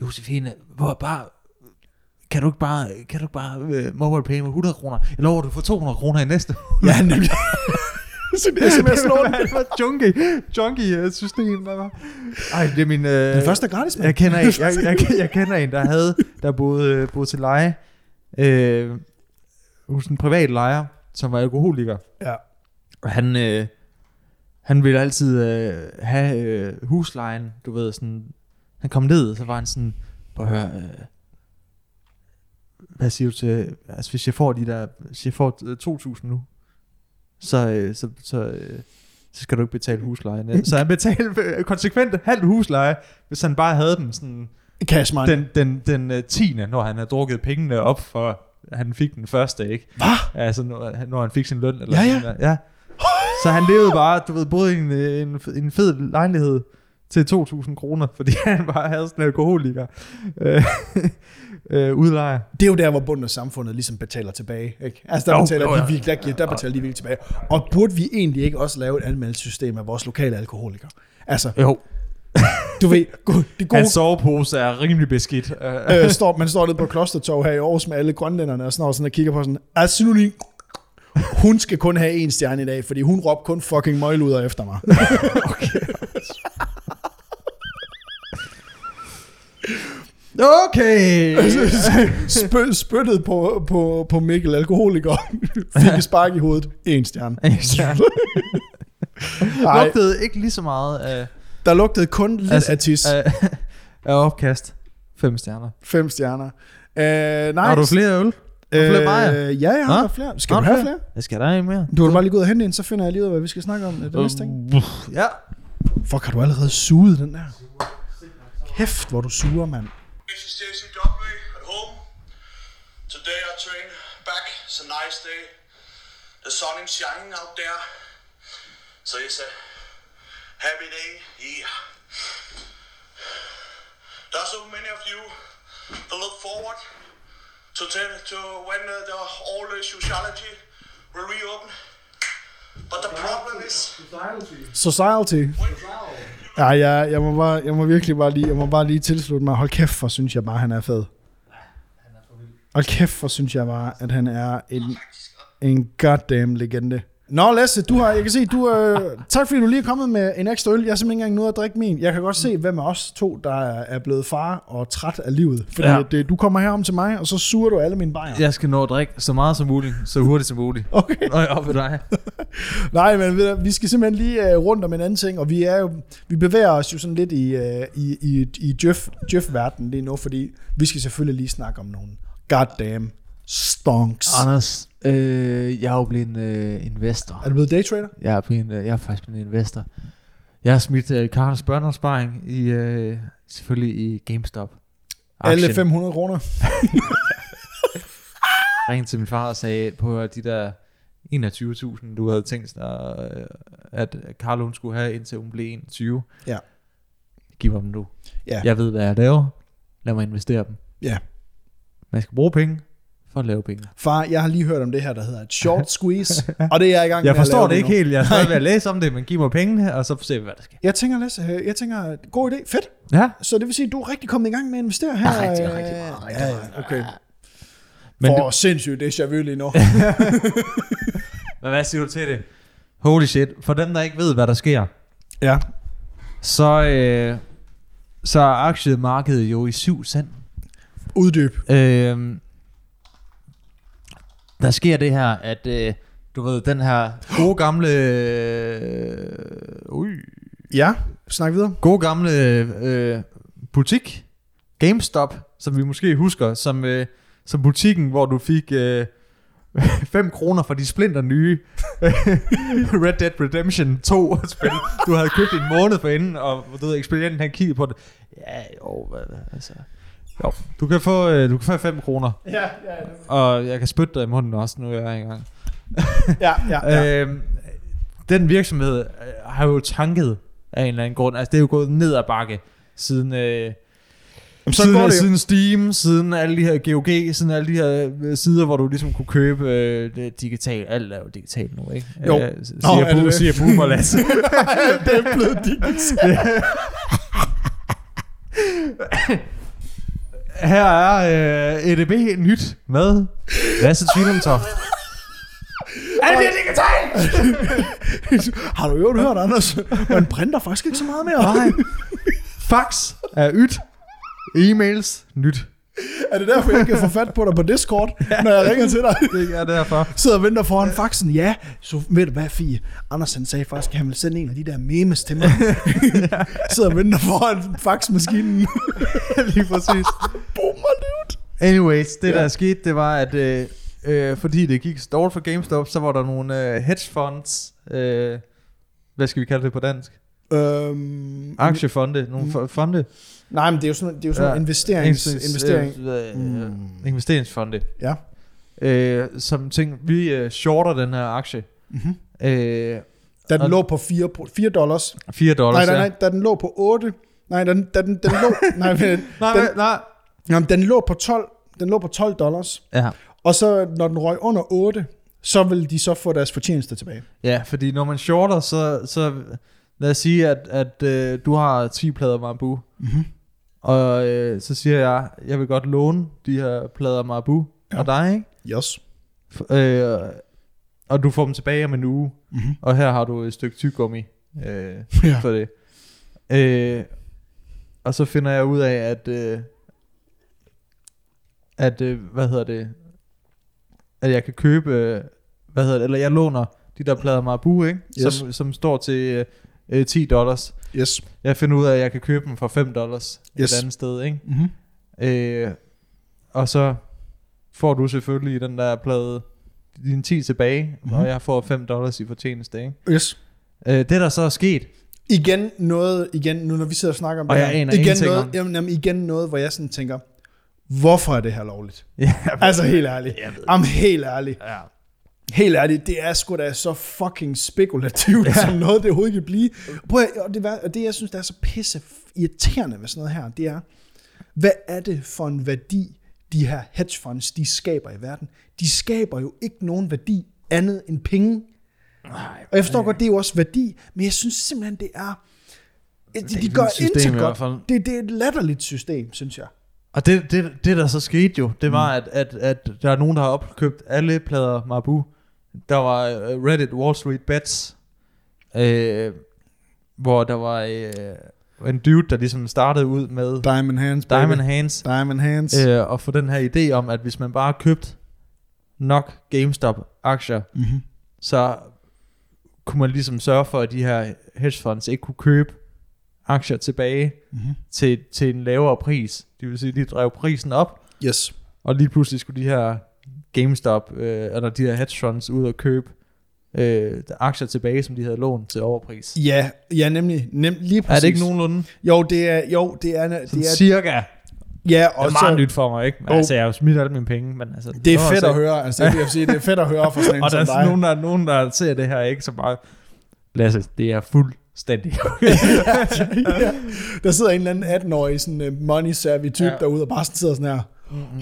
Josefine, hvor bare... Kan du ikke bare, kan du ikke bare uh, mobile pay med 100 kroner? Jeg lover, du får 200 kroner i næste. Ja, nemlig. så det er sms lån. det var junkie, junkie øh, system, der var. Ej, det er min... Øh, Den første er gratis, mand. Jeg kender en, jeg, jeg, jeg, jeg kender en der havde, der boede, øh, boede til leje, øh, hos en privat lejer, som var alkoholiker. Ja. Og han, øh, han ville altid øh, have øh, huslejen, du ved, sådan, han kom ned, og så var han sådan, prøv at høre, øh, hvad siger du til, altså hvis jeg får de der, hvis jeg får øh, 2.000 nu, så, øh, så, så, øh, så skal du ikke betale huslejen. Ja. Så han betalte øh, konsekvent halv husleje, hvis han bare havde dem sådan, Cash money. den, den, den øh, 10. når han havde drukket pengene op for, han fik den første, ikke? Hvad? Altså, når, han- når han fik sin løn. Eller Ja, ja. Sådan, der. ja. Så han levede bare, du ved, både i en, øh, en, en fed lejlighed til 2.000 kroner, fordi han bare havde sådan en alkoholiker øh, øh, udlejer. Det er jo der, hvor bunden af samfundet ligesom betaler tilbage. Ikke? Altså der, Jo, betaler jo, de ja. virkelig, der, giver, der betaler de virkelig tilbage. Og burde vi egentlig ikke også lave et anmeldelsessystem af vores lokale alkoholikere? Altså, Jo. du ved, go- det gode Hans sovepose er rimelig beskidt. Øh, øh, står, man står nede på Klostertorv her i Aarhus med alle grønlænderne og sådan noget, sådan og kigger på sådan, absolut hun skal kun have en stjerne i dag, fordi hun råbte kun fucking møgluder efter mig. okay. okay! Spø, spyttet på, på, på Mikkel, alkoholiker, fik et spark i hovedet, en stjerne. Ej, Lugtede ikke lige så meget af, der lugtede kun lidt altså, Altså, af tis. af, af opkast. Fem stjerner. Fem stjerner. Øh, nej. Har du flere øl? du flere bajer? øh, Ja, jeg Nå? har der flere. Skal Har du du have flere? flere? Jeg skal der en mere. Du har bare lige gået og hentet en, så finder jeg lige ud af, hvad vi skal snakke om øh, det næste ting. Ja. Øhm. Fuck, har du allerede suget den der? Kæft, hvor du suger, mand. This is Jason Godfrey at home. Today I train back. It's a nice day. The sun is shining out there. So it's a happy day here. There are so many of you that look forward to, tell, to when uh, the all the sociology will reopen. But the problem is Society. when Ja, ja, jeg må, bare, jeg må virkelig bare lige, jeg må bare lige tilslutte mig. Hold kæft, for synes jeg bare, han er fed. Hold kæft, for synes jeg bare, at han er en, en goddamn legende. Nå, Lasse, du har, jeg kan se, du, øh, tak fordi du lige er kommet med en ekstra øl. Jeg har simpelthen ikke engang nået at drikke min. Jeg kan godt se, hvem af os to, der er er blevet far og træt af livet. Fordi Ja. ja. det, du kommer herom til mig, og så suger du alle mine bajer. Jeg skal nå at drikke så meget som muligt, så hurtigt som muligt. Okay. Når jeg er oppe ved dig. Nej, men ved du, vi skal simpelthen lige øh, rundt om en anden ting, og vi er jo, vi bevæger os jo sådan lidt i, øh, i, i, i Jeff, Jeff-verden Ah. lige nu, fordi vi skal selvfølgelig lige snakke om nogle goddamn stonks. Anders, Øh, jeg er jo blevet en øh, investor. Er du blevet daytrader? Jeg er, blevet, øh, jeg er faktisk blevet en investor. Jeg har smidt øh, Karens børneopsparing i, øh, selvfølgelig i GameStop. Alle Aktien. 500 kroner. ringede til min far og sagde, på de der 21.000, du havde tænkt dig, øh, at Carlo hun skulle have, indtil hun blev 21. Ja. Giv mig dem nu. Ja. Jeg ved, hvad jeg laver. Lad mig investere dem. Ja. Man skal bruge penge for at lave penge. Far, jeg har lige hørt om det her, der hedder et short squeeze, og det er jeg i gang med Jeg at forstår lave det lige ikke nu. helt. Jeg er stadig ved at læse om det, men giv mig pengene, og så ser vi, hvad der sker. Jeg tænker, Lasse, øh, jeg tænker, god idé, fedt. Ja. Så det vil sige, at du er rigtig kommet i gang med at investere her. Ja, rigtig, øh, rigtig meget, rigtig ja, ja, okay. Men, For du, sindssygt, det er vu lige nu. men hvad siger du til det? Holy shit. For dem, der ikke ved, hvad der sker, ja. så, øh, så er aktiemarkedet jo i syv cent. Uddyb. Øh, der sker det her, at øh, du ved, den her gode gamle... Øh, ui, Ja, snak videre. gode gamle øh, butik, GameStop, som vi måske husker, som, øh, som butikken, hvor du fik... Øh, 5 kroner for de splinter nye Red Dead Redemption 2 spil, du havde købt en måned for inden, og du ved, ekspedienten han kiggede på det. Ja, jo, hvad, hvad, altså. Jo, du kan få, øh, du kan få 5 kroner. Ja, ja, ja. Og jeg kan spytte dig i munden også, nu er jeg i gang. ja, ja, ja. Ja. Øhm, den virksomhed øh, har jo tanket af en eller anden grund. Altså, det er jo gået ned ad bakke siden... Øh, Jamen, sådan siden, går det jo. siden Steam, siden alle de her GOG, siden alle de her øh, sider, hvor du ligesom kunne købe øh, det digitalt. Alt er jo digitalt nu, ikke? Jo. Øh, s- Nå, siger, er det Bo, det? siger Boomer Lasse. det er blevet digitalt. Her er øh, EDB nyt med Lasse Tvillemtoft. Har du jo hørt, Anders? Man printer faktisk ikke så meget mere. Nej. Fax er ydt. E-mails nyt. Er det derfor, jeg ikke kan få fat på dig på Discord, når jeg ringer til dig? Det er derfor. Sidder og venter foran faxen. Ja, så ved du hvad, Fie? Andersen sagde faktisk, at han ville sende en af de der memes til mig. Sidder og venter foran faxmaskinen. Lige præcis. Boomer, dude. Anyways, det Ja. ja. der skete, det var, at øh, øh, fordi det gik så dårligt for GameStop, så var der nogle øh, hedgefonds, øh, hvad skal vi kalde det på dansk? Øhm, Aktiefonde, nogle fo- fonde. nej, men det er jo sådan, det er jo sådan ja. investerings, Investe- investering. Mm. Øh, øh, øh, investeringsfonde. Ja. Øh, som tænkte, vi øh, shorter den her aktie. Mhm. Øh, Da den Og- lå på 4, 4 dollars. 4 Nej, dollars. nej, ja. nej, da den lå på 8. Nej, da den, da den, den lå... nej, men, nej, den, nej, nej. Jamen, den lå på 12, den lå på 12 dollars, Ja. og så når den røg under 8, så ville de så få deres fortjeneste tilbage. Ja, fordi når man shorter, så, så lad os sige, at, at øh, du har 10 plader marbu. Mm-hmm. Og øh, så siger jeg, jeg vil godt låne de her plader marbu ja. af dig, ikke? Yes. F- øh, og du får dem tilbage om en uge. Mm-hmm. Og her har du et stykke tyggegummi øh, Mhm. Ja. ja. for det. Øh, og så finder jeg ud af, at, øh, at øh, hvad hedder det, at jeg kan købe, øh, hvad hedder det, eller jeg låner de der plader Marabu, ikke? Yes. Som, som står til øh, øh, 10 dollars. Yes. Jeg finder ud af, at jeg kan købe dem for 5 dollars Yes. et andet sted, ikke? Mm-hmm. Øh, og så får du selvfølgelig den der plade, din 10 tilbage, mm-hmm. og jeg får 5 dollars i fortjeneste, ikke? Yes. Øh, det der så er sket, Igen noget, igen, nu når vi sidder og snakker om Og det jeg her, aner igen, ingenting noget, om det. jamen, jamen, igen noget, hvor jeg sådan tænker, hvorfor er det her lovligt? ja, Altså helt ærligt. Jamen helt ærligt. ja. Helt ærligt, det er sgu da så fucking spekulativt, ja. som noget det overhovedet kan blive. Prøv at, og, det, vær- og det, jeg synes, der er så pisse irriterende ved sådan noget her, det er, hvad er det for en værdi, de her hedgefonds, de skaber i verden? De skaber jo ikke nogen værdi andet end penge. Nej, og jeg forstår godt, det er jo også værdi, men jeg synes simpelthen, det er... De, de gør system i intet hvert godt. fald. Det, det er et latterligt system, synes jeg. Og det, det, det der så skete jo, det var, at, at, at der er nogen, der har opkøbt alle plader Mabu. Der var øh, Reddit Wall Street Bets, øh, hvor der var øh, en dude, der ligesom startede ud med Diamond Hands, baby. Diamond Hands, Diamond Hands. øh, og få den her idé om, at hvis man bare købte nok GameStop-aktier, Mm-hmm. så kunne man ligesom sørge for, at de her hedgefonds ikke kunne købe aktier tilbage Mhm. til, til en lavere pris. Det vil sige, at de drev prisen op, Yes. og lige pludselig skulle de her GameStop, øh, eller de der hedge funds, ud og købe øh, aktier tilbage, som de havde lånt til overpris. Ja, ja nemlig. Nem, lige præcis. Er det ikke nogenlunde? Jo, det er... Jo, det er... Det Sådan er cirka. ja, Og og det er meget så, nyt for mig, ikke? Men, Jo. altså, jeg har jo smidt alle mine penge, men altså... det er nå, fedt så- at høre. Altså, det, vil jeg sige, det er fedt at høre fra sådan en Og der som er dig. sådan nogen, der, nogen, der ser det her, ikke? Så bare... Lasse, det er fuldstændig okay. ja. Der sidder en eller anden 18-årig sådan øh, money savvy type Ja. ja. derude og bare sidder sådan her.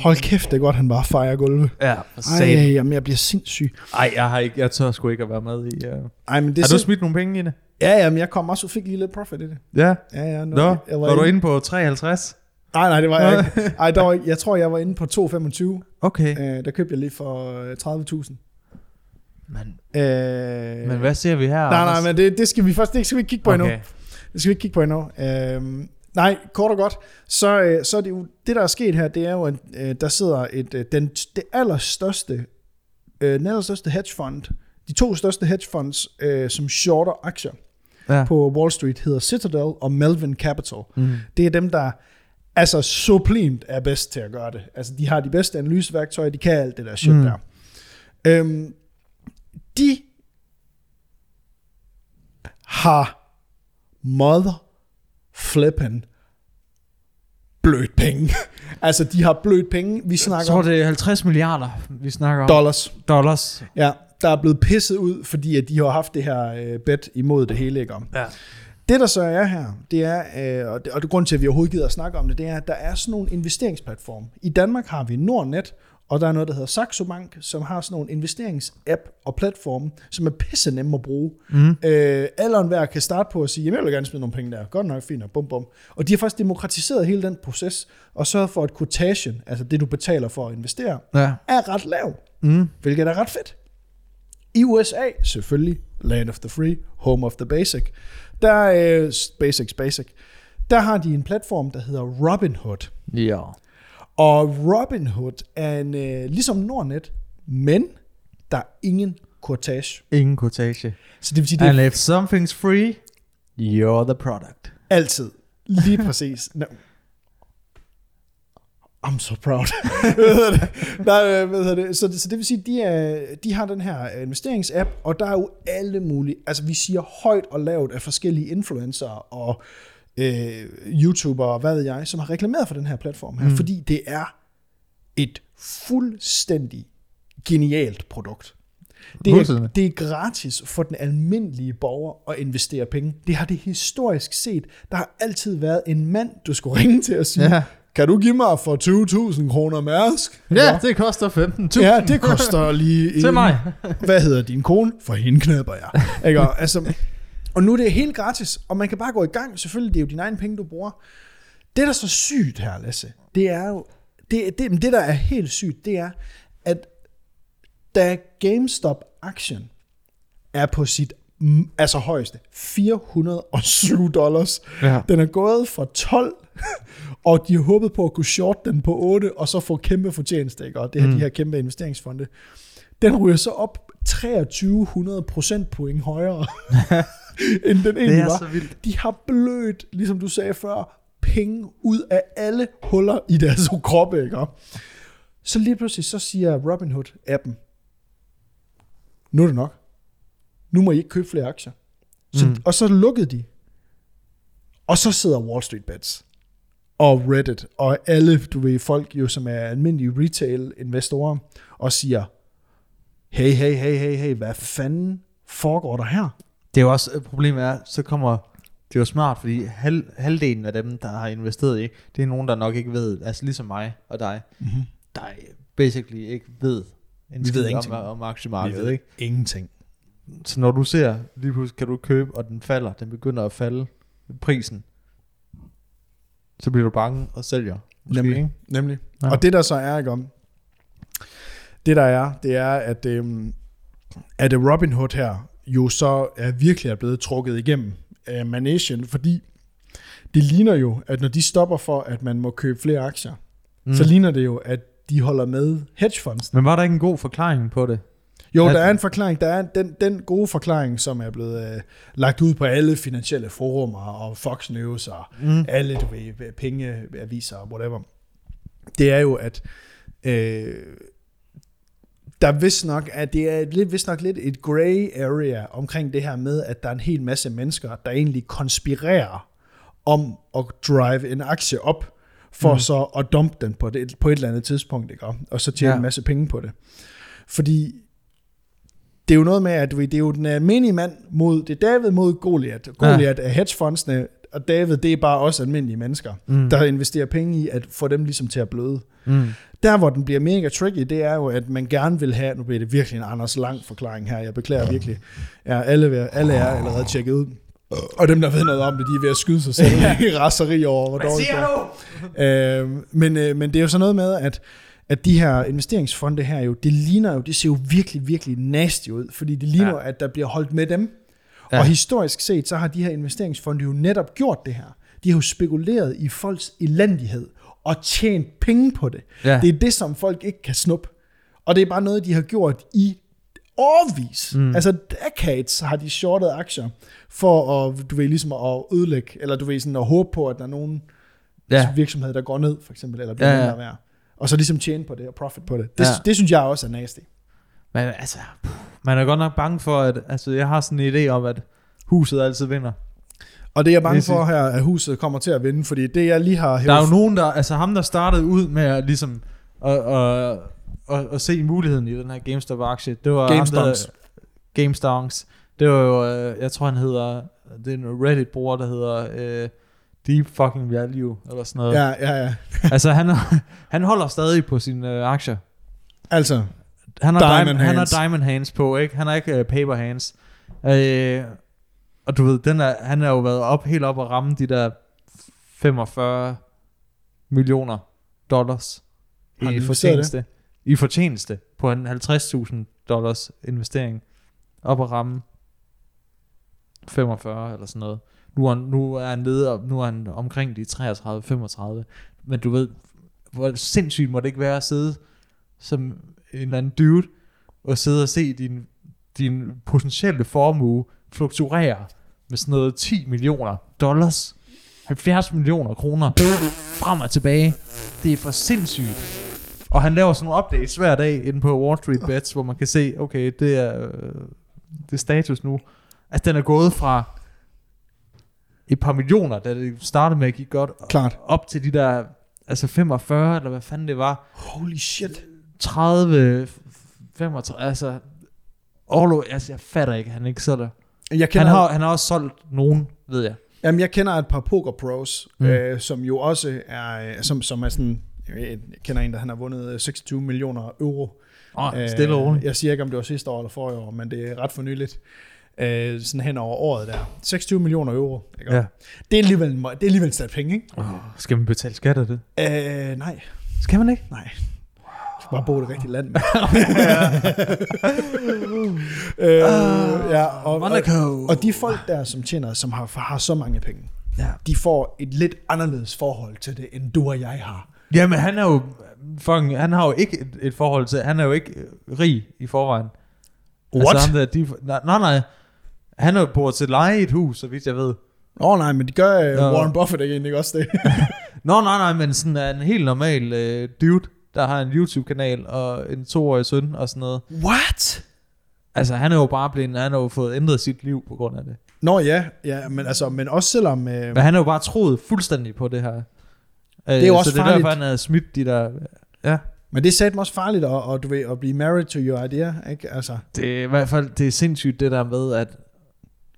Hold kæft, det er godt, han bare fejrer gulve. ja, Ej. Ej, jamen, jeg bliver sindssyg. Ej, jeg, har ikke, jeg tør sgu ikke at være med i... Uh... Ej, men det er Har du sind... smidt nogle penge i det? Ja, ja, men jeg kom også og fik lige lidt profit i det. Ja. Ja, ja. Nå, var du inde på 53? Nej, nej, det var jeg ikke. Ej, der var, ikke- jeg tror, jeg var inde på 2,25. Okay. Øh, der købte jeg lige for øh, 30.000. Men, Øh, men hvad ser vi her, Nej, nej, men det, det skal vi først det skal vi ikke kigge på okay. endnu. Ah, Okay. Det skal vi ikke kigge på endnu. Øhm, nej, kort og godt, så, øh, så er det jo, det der er sket her, det er jo, at øh, der sidder et, øh, den, det allerstørste, øh, den allerstørste hedgefond, de to største hedgefonds, øh, som shorter aktier Ja. på Wall Street, hedder Citadel og Melvin Capital. Mm. Det er dem, der altså sublimt er bedst til at gøre det. Altså, de har de bedste analyseværktøjer, de kan alt det der shit mm. der. Øhm, de har mother flippin blødt penge. altså, de har blødt penge. Vi Jeg snakker tror, om det er 50 milliarder, vi snakker om. dollars. dollars. Ja, der er blevet pisset ud, fordi at de har haft det her øh, bet imod det hele, ikke om? Ja. Det, der så er her, det er, øh, og det, og det grund til, at vi overhovedet gider at snakke om det, det er, at der er sådan nogle investeringsplatforme. I Danmark har vi Nordnet, og der er noget, der hedder Saxo Bank, som har sådan nogle investeringsapp og platforme, som er pisse nemme at bruge. Mm. Øh, alle og enhver kan starte på at sige, jamen jeg vil gerne smide nogle penge der. Godt nok, fint og bum bum. Og de har faktisk demokratiseret hele den proces, og sørget for, at quotation, altså det du betaler for at investere, Ja. er ret lav, mm. hvilket er ret fedt. I USA, selvfølgelig, land of the free, home of the basic, der er øh, basics basic, der har de en platform, der hedder Robinhood. Ja. Og Robinhood er en, øh, ligesom Nordnet, men der er ingen kortage. Ingen kortage. Så det vil sige, det er And if something's free, you're the product. altid. Lige præcis. No. I'm so proud. Nej, øh, hvad hedder det? Så, det, så det vil sige, de, er, de har den her investeringsapp, og der er jo alle mulige, altså vi siger højt og lavt af forskellige influencer og øh, YouTubere og hvad ved jeg, som har reklameret for den her platform her, mm. fordi det er et fuldstændig genialt produkt. Det er, Fuldstændig. det er gratis for den almindelige borger at investere penge. Det har det historisk set. Der har altid været en mand, du skulle ringe til og sige, ja. Ja. kan du give mig for 20.000 kroner mærsk? Ja, det koster 15.000. Ja, det koster lige... Til en- mig. Hvad hedder din kone? For hende knæpper jeg. Ikke? Og, altså, og nu er det helt gratis, og man kan bare gå i gang. Selvfølgelig, det er jo dine egne penge, du bruger. Det, der er så sygt her, Lasse, det er jo... Det, det, men det der er helt sygt, det er, at da GameStop-aktien er på sit mm, altså højeste, 407 dollars. Ja. Den er gået fra 12, og de har håbet på at kunne short den på 8, og så få kæmpe fortjeneste, ikke? og det her, mm. de her kæmpe investeringsfonde. Den ryger så op 2300 procentpoint højere, end den egentlig er var. så vildt. De har blødt, ligesom du sagde før, penge ud af alle huller i deres kroppe, ikke? Så lige pludselig, så siger Robinhood-appen, nu er det nok. Nu må I ikke købe flere aktier. Så, mm. Og så lukkede de. Og så sidder Wall Street Bets og Reddit og alle, du ved, folk jo, som er almindelige retail-investorer, og siger, hey, hey, hey, hey, hey, hvad fanden foregår der her? Det er jo også, øh, problemet er, så kommer, det er jo smart, fordi hal, halvdelen af dem, der har investeret i, det er nogen, der nok ikke ved, altså ligesom mig og dig, mm-hmm. der basically ikke ved, en skid om, ingenting. om aktiemarkedet, ikke? Ingenting. Så når du ser, lige pludselig kan du købe, og den falder, den begynder at falde, prisen, så bliver du bange og sælger. Måske, Nemlig. ikke? Nemlig. Ja. Ja. Og det der så er, ikke om, det der er, det er, at, øhm, at Robin Hood her jo så er virkelig er blevet trukket igennem af managen, fordi det ligner jo, at når de stopper for, at man må købe flere aktier, mm. så ligner det jo, at de holder med hedgefonds. Men var der ikke en god forklaring på det? Jo, At- der er en forklaring. Der er en- den, den gode forklaring, som er blevet øh, lagt ud på alle finansielle forumer og Fox News og mm. alle du ved, pengeaviser og whatever. Det er jo, at øh, der vist nok, at det er lidt, vist nok lidt et gray area omkring det her med, at der er en hel masse mennesker, der egentlig konspirerer om at drive en aktie op, for mm. så at dumpe den på, det, på et eller andet tidspunkt, ikke? Og- og så tjene ja. Ja. en masse penge på det. Fordi det er jo noget med, at du ved, det er jo den almindelige mand mod, det er David mod Goliath. Goliath ja. er hedgefondsene, og David, det er bare også almindelige mennesker, mm. der investerer penge i at få dem ligesom til at bløde. Mm. Der, hvor den bliver mega tricky, det er jo, at man gerne vil have, nu bliver det virkelig en Anders Lang forklaring her, jeg beklager virkelig, ja, alle, alle er allerede tjekket ud. Og dem, der ved noget om det, de er ved at skyde sig selv i raseri over, hvor dårligt det er. Øh, men, øh, men det er jo sådan noget med, at, at de her investeringsfonde her jo, det ligner jo, det ser jo virkelig, virkelig nasty ud, fordi det ligner, ja. at der bliver holdt med dem. Ja. Ja. Og historisk set, så har de her investeringsfonde jo netop gjort det her. De har jo spekuleret i folks elendighed og tjent penge på det. Ja. Det er det, som folk ikke kan snuppe. Og det er bare noget, de har gjort i årvis. Mm. Altså decades har de shortet aktier for at, du ved, ligesom at ødelægge, eller du ved, sådan at håbe på, at der er nogen, ja. Ja. virksomhed, der går ned, for eksempel, eller bliver Ja, ja. ja, ja. værd. Og så ligesom tjene på det, og profit på det. Det, ja. Ja. det synes jeg også er nasty. Men altså, puh, Man er godt nok bange for, at altså, jeg har sådan en idé om, at huset altid vinder. Og det er jeg bange Hvis I- for her, at huset kommer til at vinde, fordi det jeg lige har Der er hævet... jo nogen, der, altså ham, der startede ud med at ligesom, at, at, at, at se muligheden i den her GameStop-aktie, det var GameStonks. ham, der, GameStonks. Det var jo, øh, jeg tror han hedder, det er en Reddit-bruger, der hedder øh, Deep Fucking Value, eller sådan noget. Ja, ja, ja. altså han, han holder stadig på sine øh, aktier. Altså, Han har Diamond diamond, diamond han har hands. diamond hands på, ikke? Han har ikke øh, paper hands. Øh, og du ved, den er, han har jo været op, helt op og ramme de der 45 millioner dollars Har i han investeret fortjeneste. Det? I fortjeneste på en 50.000 dollars investering. Op og ramme 45 eller sådan noget. Nu er, han- nu er han nede, og nu er han omkring de 33-35. Men du ved, hvor sindssygt må det ikke være at sidde som en eller anden dude, og sidde og se din, din potentielle formue fluktuere med sådan noget 10 millioner dollars, 70 millioner kroner frem og tilbage. Det er for sindssygt. Og han laver sådan nogle updates hver dag inde på Wall Street Bets, hvor man kan se, okay, det er, øh, det er status nu. Altså, den er gået fra et par millioner, da det startede med at give godt, klart. op til de der altså 45, eller hvad fanden det var, Holy shit. 30, 35, altså, all over, altså jeg fatter ikke, han ikke sælger. Jeg kender, Han har, han har også solgt nogen, ved jeg. jamen, jeg kender et par poker pros, mm. Mm. øh, som jo også er, øh, som, som er sådan, jeg kender en, der han har vundet øh, 26 millioner euro Øh, Åh, oh, stille og roligt. Jeg siger ikke, om det var sidste år eller forrige år, men det er ret for nyligt. Øh, sådan hen over året der. 26 millioner euro. Ikke? Ja. Det, er alligevel, en må- det er alligevel en stat penge, ikke? Oh, skal man betale skat af det? Øh, nej, Skal man ikke? nej. Jeg skal bare bo i det rigtige land. mand. Ah. øh, ja, og, og, og de folk der, som tjener, som har, har så mange penge, Ja. de får et lidt anderledes forhold til det, end du og jeg har. Jamen han er jo, fucking, han har jo ikke et, et forhold til, han er jo ikke øh, rig i forvejen. What? Altså, ham der, de, nej, nej, nej, han er jo på til leje i et hus, så vidt jeg ved. Åh oh, nej, men det gør øh, Nå. Warren Buffett ikke egentlig også det. Nå, nej, nej, men sådan er en helt normal øh, dude, der har en YouTube-kanal og en toårig søn og sådan noget. What? Altså, han er jo bare blevet, han har jo fået ændret sit liv på grund af det. Nå ja, ja men, altså, men også selvom... Øh, Men han har jo bare troet fuldstændig på det her. Øh, det er jo også så det er farligt. derfor, han har smidt de der... Ja, Men det sagde mig også farligt at, og, du ved, at blive married to your idea, ikke? Altså, det er i hvert fald det er sindssygt det der med, at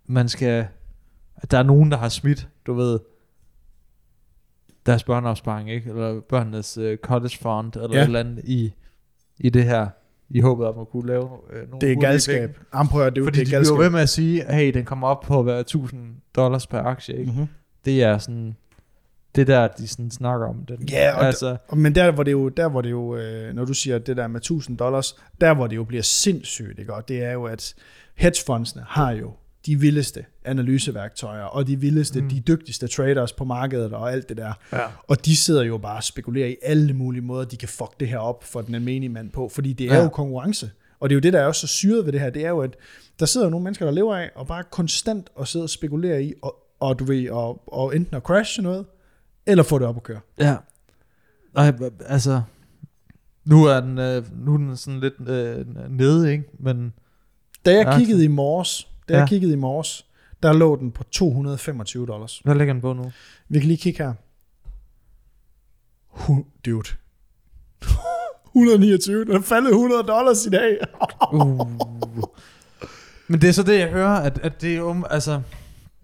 man skal... At der er nogen, der har smidt, du ved, deres børneopsparing, ikke? Eller børnenes øh, college fund, eller Ja. ja. et eller andet i, i det her, i håbet om at kunne lave øh, nogle det er hurtige penge. galskab. Amprøver, det er jo Fordi det er de bliver jo ved galskab. med at sige, hey, den kommer op på at være 1000 dollars per aktie, ikke? Mm-hmm. det er sådan det der de sådan snakker om den. Ja, og altså Men der hvor det jo, der, hvor det jo øh, når du siger det der med 1000 dollars, der hvor det jo bliver sindssygt, ikke? Og det er jo, at hedgefondsene har jo de vildeste analyseværktøjer, og de vildeste, mm. de dygtigste traders på markedet og alt det der. Ja. Og de sidder jo bare og spekulerer i alle mulige måder, de kan fuck det her op for den almindelige mand på, fordi det er ja. Ja. jo konkurrence. Og det er jo det, der er også så syret ved det her, det er jo, at der sidder jo nogle mennesker, der lever af, og bare konstant og sidder og spekulerer i, og, og du ved, og, og enten at crashe noget, eller få det op at køre. ja. Nej, b- altså Nu er den, øh, nu er den sådan lidt øh, nede, ikke? Men Da jeg Ja. kiggede i morges, da ja. Ja. jeg kiggede i morges, der lå den på 225 dollars. hvad ligger den på nu? Vi kan lige kigge her. Hu- Dude. 129, den er faldet 100 dollars i dag. Uh. Men det er så det, jeg hører, at, at det, er um, altså,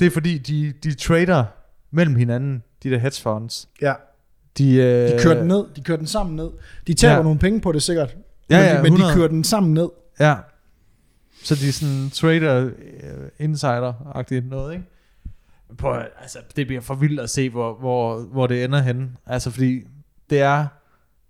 det er fordi, de, de trader mellem hinanden, de der hedge funds. ja, De, øh, de kører den ned, de kører den sammen ned. De taber Ja. ja. nogle penge på det sikkert, Ja, men, ja, de, men de 100. kører den sammen ned. Ja. Så de er sådan trader øh, insider-agtigt noget, ikke? På, altså, det bliver for vildt at se, hvor, hvor, hvor det ender henne. Altså, fordi det er,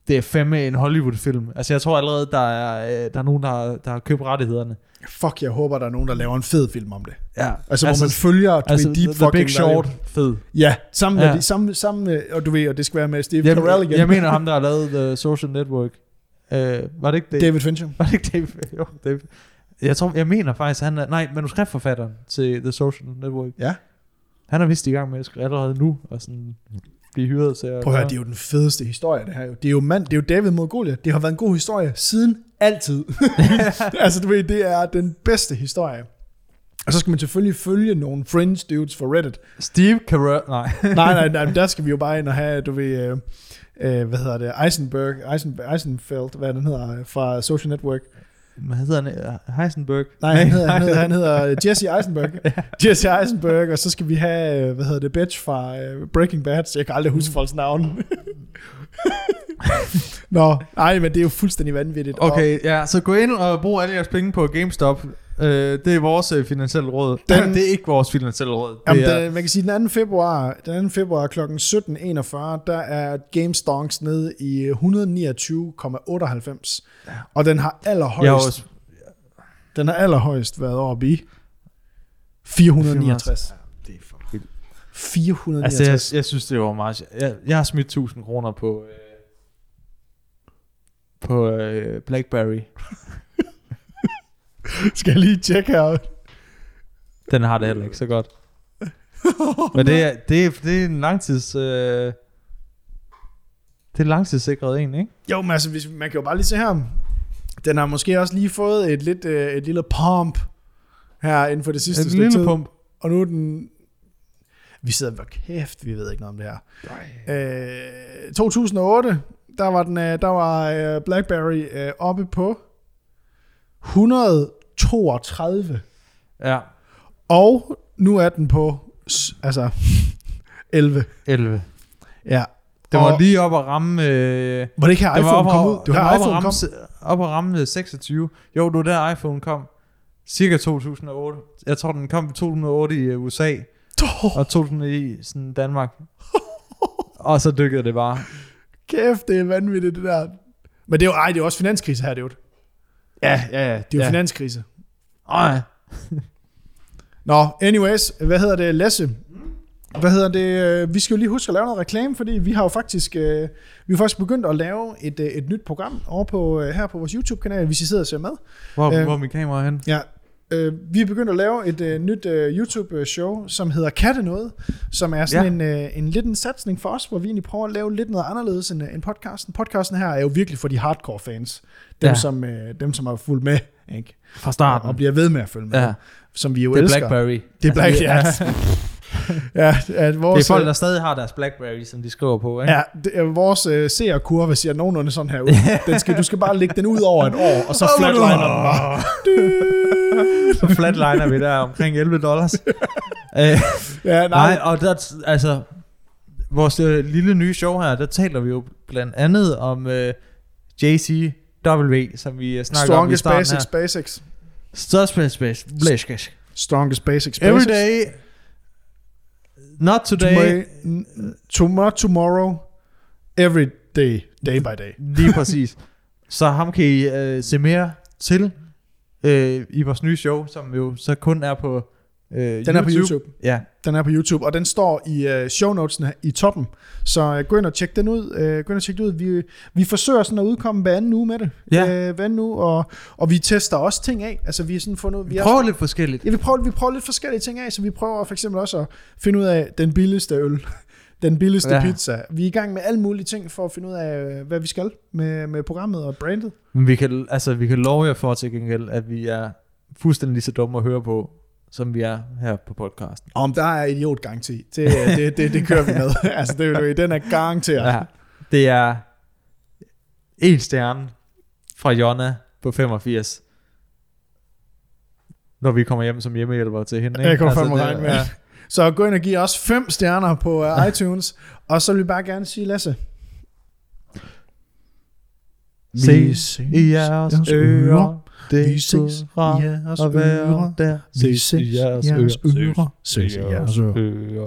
det er fandme en Hollywood-film. Altså, jeg tror allerede, der er, øh, der er nogen, der har, der har købt rettighederne. Fuck, jeg håber, der er nogen, der laver en fed film om det. Ja. Altså, altså hvor man følger, du altså, altså ved, deep the, the fucking Big Short, fed. Ja, sammen, ja. Ja. Med de, sammen, sammen med, og du ved, og det skal være med Steve Jeg, Carell igen. jeg mener ham, der har lavet The Social Network. Øh, var det ikke det? David Fincher. Var det ikke David? Jo, David. Jeg, tror, jeg mener faktisk, han er... Nej, manuskriptforfatteren til The Social Network. Ja. Han er vist i gang med at skrive allerede nu, og sådan blive hyret til at... Prøv at høre, det er gøre- jo den fedeste historie, det her jo. Det er jo mand, det er jo David mod Goliath. Det har været en god historie siden altid. altså, du ved, det er den bedste historie. Og så skal man selvfølgelig følge nogle fringe dudes for Reddit. Steve Carell... Nej. Nej, nej, nej, men der skal vi jo bare ind og have, du ved, øh, øh, hvad hedder det, Eisenberg, Eisen, Eisenfeld, hvad den hedder, øh, fra Social Network. Hvad hedder han? Øh, Heisenberg? Nej, han hedder, han hedder, han hedder øh, Jesse Eisenberg. Jesse Eisenberg, og så skal vi have, øh, hvad hedder det, Bitch fra øh, Breaking Bad, så jeg kan aldrig Mm. huske folks navn. Nå, nej, men det er jo fuldstændig vanvittigt. Og Okay, ja, så gå ind og brug alle jeres penge på GameStop. Øh, det er vores øh, finansielle råd. Den, Den- det er ikke vores finansielle råd. Det Jamen, er, den, man kan sige, den 2. februar, den 2. februar kl. 17.41, der er GameStonks nede i øh, 129,98. Og den har jeg er allerhøjst, også, den har allerhøjst været oppe i 469. det er for vildt. 469. Altså, jeg, jeg synes, det var meget... sj- Jeg, jeg har smidt 1000 kroner på... Øh, på øh, Blackberry. skal jeg lige tjekke her. Den har det heller ikke så godt. Men det er, det er, det er en langtids... Øh, det er langtidssikret en, ikke? Jo, men altså, hvis, man kan jo bare lige se her. Den har måske også lige fået et, lidt, øh, et lille pump her inden for det sidste En stykke lille tid. pump. Og nu er den... Vi sidder, hvor kæft, vi ved ikke noget om det her. Øh, 2008, der var, den, øh, der var øh, BlackBerry øh, oppe på 132. Ja, Og nu er den på s- altså 11. 11. Ja. Det var Og- lige op at ramme... Øh, Var det ikke her det var iPhone op, kom ud? at, Det det var, var her op, at iPhone ramme, kom. se- op at ramme 26. Jo, det var der iPhone kom. Cirka 2008. Jeg tror, den kom i 2008 i øh, USA, Åh, og 2009 i sådan Danmark. og så dykkede det bare. Kæft, det er vanvittigt det der. Men det er jo, ej, det er jo også finanskrise her, det er jo. Det Ja, ja, ja. Det er jo ja. ja. finanskrise. Ej. Nå, anyways, hvad hedder det, Lasse? Hvad hedder det? øh, Vi skal jo lige huske at lave noget reklame, fordi vi har jo faktisk, øh, vi har faktisk begyndt at lave et, øh, et nyt program over på, øh, her på vores YouTube-kanal, hvis I sidder og ser med. Hvor, Øh. hvor er min kamera hen? Ja. Øh, vi er begyndt at lave et øh, nyt øh, YouTube-show, som hedder Katte Noget, som er sådan ja. en, øh, en lidt en satsning for os, hvor vi egentlig prøver at lave lidt noget anderledes end, øh, end podcasten. Podcasten her er jo virkelig for de hardcore fans. Dem, Ja. ja. som, øh, dem som har fulgt med, ikke? Fra og bliver ved med at følge med, Ja. ja. som vi jo Det er elsker. Blackberry. Det er Black, ja. ja, at Det vores, er folk, der stadig har deres Blackberry, som de skriver på, ikke? Ja, det, øh, vores øh, seerkurve ser nogenlunde sådan her ud. Den skal, du skal bare lægge den ud over et år, og så Oh, flatliner no. den bare. Så flatliner vi der omkring 11 dollars. øh, Ja, nej, nej, og der, altså, vores øh, lille nye show her, der taler vi jo blandt andet om øh, JCW, som vi øh, snakker om i Strongest starten basics, basics. her. Strongest basics. Basics. Strongest basics, basics. Every day. Not today. Tomorrow, n- tomorrow, tomorrow, every day, day by day. Lige præcis. så ham kan I øh, se mere til øh, i vores nye show, som jo så kun er på øh, Den er på YouTube. Ja, Den er på YouTube, og den står i øh, show notesene i toppen. Så øh, gå ind og tjek den ud. Øh, gå ind og tjek den ud. Vi, vi forsøger sådan at udkomme hver anden uge med det. Ja. Øh, hver anden uge, og, og vi tester også ting af. Altså vi er sådan fundet... vi er- prøver lidt forskelligt. Ja, vi prøver, vi prøver lidt forskellige ting af, så vi prøver for eksempel også at finde ud af den billigste øl. den billigste ja. Ja. pizza. Vi er i gang med alle mulige ting for at finde ud af, øh, hvad vi skal med, med programmet og brandet. Men vi kan, altså, vi kan love jer for til gengæld, at vi er fuldstændig lige så dumme at høre på, som vi er her på podcasten. Om der er idiotgaranti. Det, øh, det, det, det kører vi med. altså, det, er jo- den er garanteret. Ja. Det er en stjerne fra Jonna på 85, når vi kommer hjem som hjemmehjælper til hende. Jeg kunne fandme altså, det- regne med. Så gå ind og giv os fem stjerner på uh, iTunes. og så vil vi bare gerne sige, Lasse. Vi ses I jeres ører, det er ses i jeres at være der. Vi ses i jeres ører. Ses i jeres ører. ører.